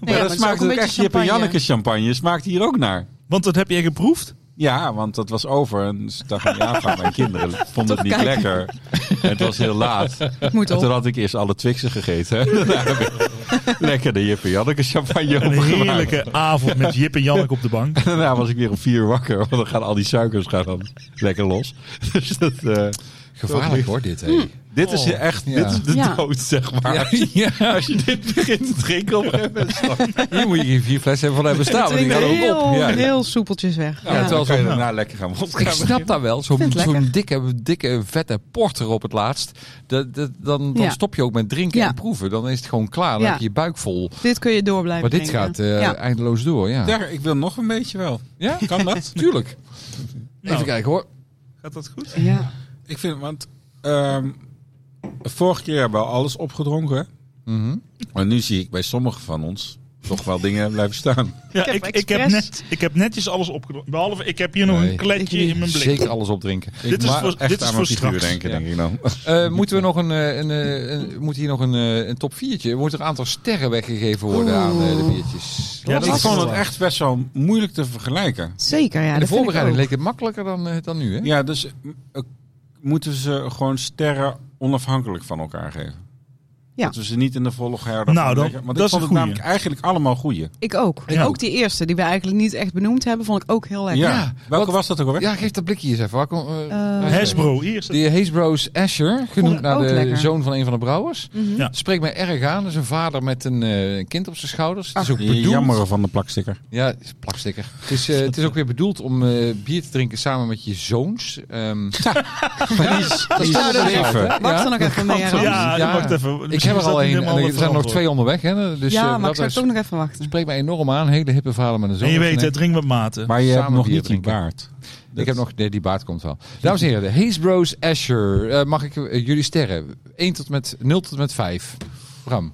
maar het dat is smaakt een ook beetje echt Jip en champagne. Janneke champagne. Smaakt hier ook naar. Want dat heb jij geproefd? Ja, want dat was over en ze dachten, ja, gaan mijn kinderen vonden het niet Toch kijken. lekker. En het was heel laat. Het moet En op. toen had ik eerst alle Twixen gegeten. En daarna heb ik Lekker de Jip en Janneke champagne Een opgemaakt. heerlijke avond met Jip en Jannek op de bank. En daarna was ik weer om vier uur wakker, want dan gaan al die suikers gaan dan lekker los. Dus dat, eh, Gevaarlijk hoor dit, hè. dit is echt ja. dit is de Oh. Ja. dood, zeg maar. Ja, ja. Als je dit begint te drinken op een gegeven moment. Hier moet je geen vier flessen hebben van hebben staan. Het Want die drinkt gaan ook heel, op. Ja. heel soepeltjes weg. Ja, terwijl Dan kan je zo'n- daarna lekker gaan wodka ik beginnen. snap dat wel. Zo'n vind het zo'n lekker. dikke, dikke, vette porter op het laatst. Dat, dat, dan dan Ja. stop je ook met drinken Ja. en proeven. Dan is het gewoon klaar. Dan Ja. heb je je buik vol. Dit kun je door blijven Maar dit drinken. gaat eh, Ja. eindeloos door, ja. Ja, ik wil nog een beetje wel. Ja? Kan dat? Tuurlijk. Nou. Even kijken hoor. Gaat dat goed? Ja. Ik vind, want ehm, vorige keer hebben we alles opgedronken. Mhm. Maar nu zie ik bij sommigen van ons toch wel dingen blijven staan. Ja, heb ik, ik, heb expres- net, ik heb netjes alles opgenomen. Behalve, ik heb hier nog Nee. een kletje Ik niet. in mijn blik. Zeker alles opdrinken. Dit is Maar voor, echt dit is aan mijn voor figuur straks. denken, Ja. denk ik dan. Eh, moeten we nog een, eh, een, eh, een- moet hier nog een, eh, een top 4'tje? Moet er een aantal sterren weggegeven worden aan eh, de biertjes? Ja, dat ik is vond wel het waar. echt best wel moeilijk te vergelijken. Zeker, ja. In de dat vind ik voorbereiding ook. leek het makkelijker dan, eh, dan nu, hè? Ja, dus m, eh, moeten ze gewoon sterren onafhankelijk van elkaar geven. Ja. Dat we ze niet in de volgorde Nou, dan- leggen. Want ik dat is een vond het goeie. namelijk eigenlijk allemaal goeie. Ik ook. Ja. Ook die eerste, die we eigenlijk niet echt benoemd hebben, vond ik ook heel lekker. Ja. Ja, Welke wat- was dat ook alweer? Ja, geef dat blikje eens even. Waar kom- eh, Eh, waar is het? Hasbro, hier is het. De Haysbro's Asher, Vond genoemd ik naar ook de lekker. zoon van een van de brouwers. Mhm. Ja. Spreekt mij erg aan. Dat is een vader met een eh, kind op zijn schouders. Het is ook bedoeld. Jammer van de plaksticker. Ja, het is een plaksticker. Het is, eh, het is ook weer bedoeld om eh, bier te drinken samen met je zoons. Die Ehm is, die is staat er zeven. even. Wacht er nog even mee, Ram. Ja, Ja, Ja. wacht even. ik Misschien heb er is dat al niet één. helemaal En er het zijn er nog verantwoord. twee onderweg. Hè? Dus, eh, maar ik dat zou is- het ook nog even wachten. spreekt mij enorm aan. Hele hippe vader met een zoon. En je op zijn weet, het nek. drink met mate. Maar je hebt Samen nog bier niet je drinken. baard. Ik heb nog... Nee, die baard komt wel. Dames en heren, de Haysbro's Asher. Eh, mag ik eh, jullie sterren? 1 tot met... 0 tot met 5. Bram.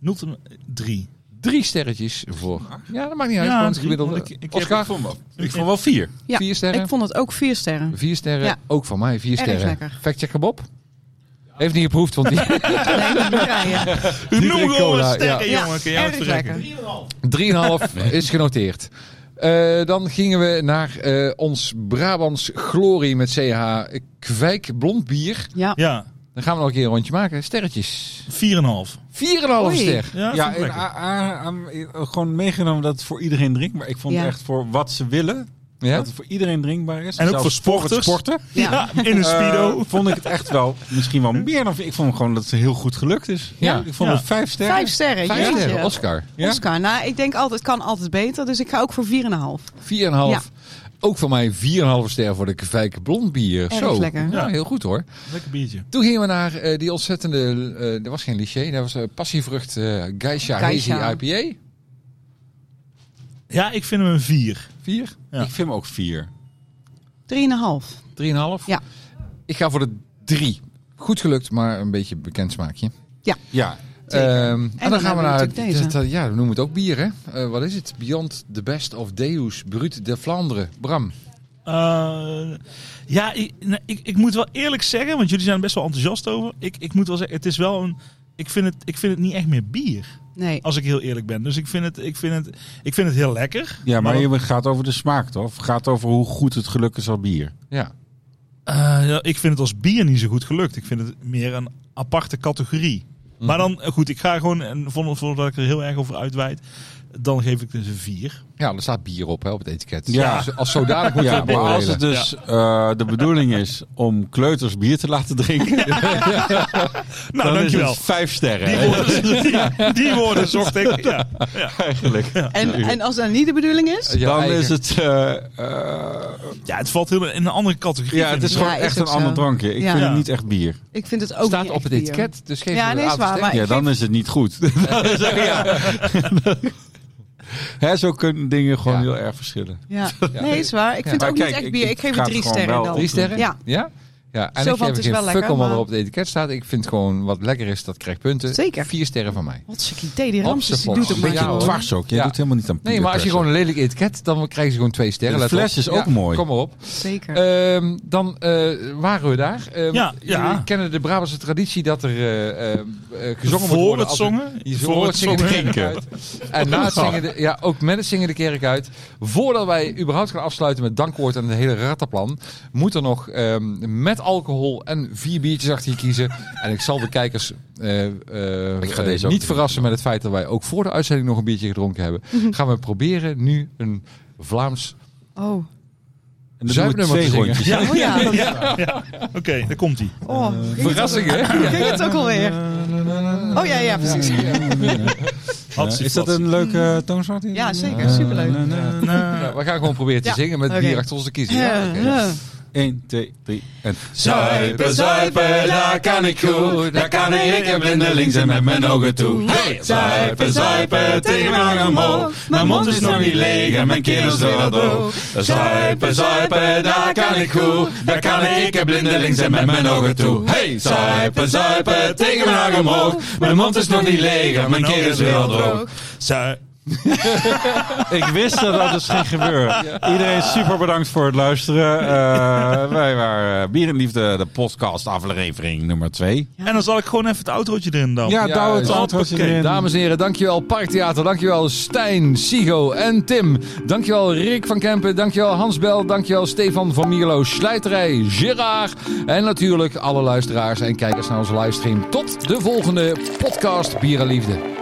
0 tot 3. Drie sterretjes voor. Ja, dat maakt niet uit. Ja, Gewoon het drie, gemiddelde. want ik- ik heb Oscar, Ik vond wel, ik vond wel vier. Ja, vier sterren. Ik vond het ook vier sterren. Vier sterren. Ja. Ook van mij, vier Erg sterren. lekker. Factchecker Bob? Heeft niet geproefd, want die... Nee, niet rijden. U Die noemt drinkt gewoon cola, een ja. sterren, Ja, jongen. Kun je erg uitrekken? lekker. 3,5 is genoteerd. Eh, dan gingen we naar eh, ons Brabants Glorie met CH Kwijk Blond Bier. Ja, Ja, Dan gaan we nog een keer een rondje maken. Sterretjes. 4,5. Ja, 4,5 Oei. ster. ja, Ja, ja en, a- a- aan- eh, gewoon meegenomen dat het voor iedereen drinkbaar Ik vond Ja. echt voor wat ze willen, Ja? dat het voor iedereen drinkbaar is. En ook Zelfs voor het sporters. sporten. ja. in een speedo. Eh, vond ik het echt wel misschien wel meer dan... Ik vond hem gewoon dat het heel goed gelukt is. Ja. Ik vond Ja. het vijf sterren. Vijf sterren. Vijf jeetje. sterren, Oscar. Ja? Oscar, nou, ik denk altijd, het kan altijd beter, dus ik ga ook voor 4,5. 4,5. Ja. Ook van mij 4,5 ster voor de Kvijk Blond bier. Erg Zo. lekker. Ja, heel goed hoor. Lekker biertje. Toen gingen we naar eh, die ontzettende, eh, er was geen lycée, dat was eh, passievrucht eh Geisha, Geisha. Hazy IPA. Ja, ik vind hem een 4. 4. Ja. Ik vind hem ook 4. 3,5. 3,5? Ja. Ik ga voor de 3. Goed gelukt, maar een beetje bekend smaakje. Ja. Ja. Zeker. Ehm, dan en dan gaan hebben we we naar. natuurlijk deze. dat- dat- ja, we noemen het ook bier, hè? Eh, wat is het? Beyond the Best of Deus Brut de Vlaanderen. Bram. Eh, ja, ik, nou, ik, ik moet wel eerlijk zeggen, want jullie zijn er best wel enthousiast over. Ik, ik moet wel zeggen, het is wel een. Ik vind, het, ik vind het niet echt meer bier, Nee. als ik heel eerlijk ben. Dus ik vind het, ik vind het, ik vind het heel lekker. Ja, maar dat- je gaat over de smaak, toch? Of gaat over hoe goed het geluk is al bier. Ja. Eh, ja, ik vind het als bier niet zo goed gelukt. Ik vind het meer een aparte categorie. Maar dan, eh, goed, ik ga gewoon, en voor- voordat ik er heel erg over uitweid, dan geef ik dus een 4. Ja, er staat bier op hè, op het etiket. Ja. Dus als zodanig moet je Ja, het maar als beoordelen. het dus eh, de bedoeling is om kleuters bier te laten drinken, Nou, dan is dankjewel. het vijf sterren. Die hè? woorden, die, die woorden zocht ik. Ja, ja. Eigenlijk. En, en als dat niet de bedoeling is? Ja, dan eigen. is het. eh, eh, ja, het valt heel in een andere categorie. ja, het vind is ik. gewoon Ja, is echt ook een ander zo. drankje. Ik Ja. vind Ja. het niet echt bier. Ik vind het ook Het staat niet op echt het bier. etiket, dus geef Ja, het nee, een is waar, aantal Ja, Ah, ik dan vind- is het niet goed. Dat is ook- ja. Hè, zo kunnen dingen gewoon Ja. heel erg verschillen. Ja. Nee, is waar. Ik vind Maar het ook kijk, niet echt ik- bier. ik Ik geef ga het het drie gewoon sterren wel- dan. Drie sterren? Ja. Ja? Ja, en Zo van, ik geef het er is geen wel fuck lekker, om wat er maar- op het etiket staat. Ik vind gewoon wat lekker is, dat krijgt punten. Zeker. Vier sterren van mij. Hotsikkie, die Op Ramses, z'n die doet het volks. maar. Ja, gewoon. hoor. Dwars ook. Jij Ja. doet helemaal niet aan Nee, maar als je peer gewoon pressure. een lelijk etiket, dan krijgen ze gewoon twee sterren. De let op. fles is ook Ja, mooi. Kom maar op. Zeker. Ehm, dan eh, waren we daar. Ehm, Ja, ja. Jullie kennen de Brabantse traditie dat er eh, eh, eh, gezongen Voor wordt worden. het als er- zongen? Voor het zingen de kerk uit. En na het zingen, de- ja, ook met het zingen de kerk uit. Voordat wij überhaupt gaan afsluiten met dankwoord en het hele rattenplan, moet er nog ehm, met alcohol en vier biertjes achter je kiezen. En ik zal de kijkers eh, eh, Ik ga eh, deze ook doen. niet verrassen met het feit dat wij ook voor de uitzending nog een biertje gedronken hebben. Mhm. Gaan we proberen nu een Vlaams Oh. En dan doen we Zuipnummer twee te zingen. rondjes. oh ja. dat- Oké, daar komt hij. Oh, ging het verrassing, hè? al- Ging het ook alweer? Oh ja, ja, precies. Hatsie Is dat fatsie. een leuke eh, toonsoort? Ja, zeker. Superleuk. Ja, we gaan gewoon proberen te Ja, zingen met oké. bier achter ons te kiezen. Ja, Ja, oké. ja. 1, 2, 3 en... Zuipen, zuipen, daar kan ik goed. Daar kan ik en blindelings en met mijn ogen toe. Zuipen, zuipen, tegen mijn arm omhoog. Mijn mond is nog niet leeg en mijn keel is door het dood. Zuipen, zuipen, daar kan ik goed. Daar kan ik en blindelings en met mijn ogen toe. Hey! Zuipen, zuipen, tegen mijn arm omhoog. Mijn mond is nog niet leeg en mijn keel is weer al droog. Zui- Ik wist dat dat dus ging gebeuren. Iedereen super bedankt voor het luisteren. Eh, wij waren eh, Bier en Liefde, de podcast aflevering nummer 2. En dan zal ik gewoon even het autootje erin dan. Ja, douw douw het het antwoordje erin. Dames en heren, dankjewel Parktheater, dankjewel Stijn, Sigo en Tim. Dankjewel Rick van Kempen, dankjewel Hans Bel, dankjewel Stefan van Mierlo, Slijterij, Gerard. En natuurlijk alle luisteraars en kijkers naar onze livestream. Tot de volgende podcast Bier en Liefde.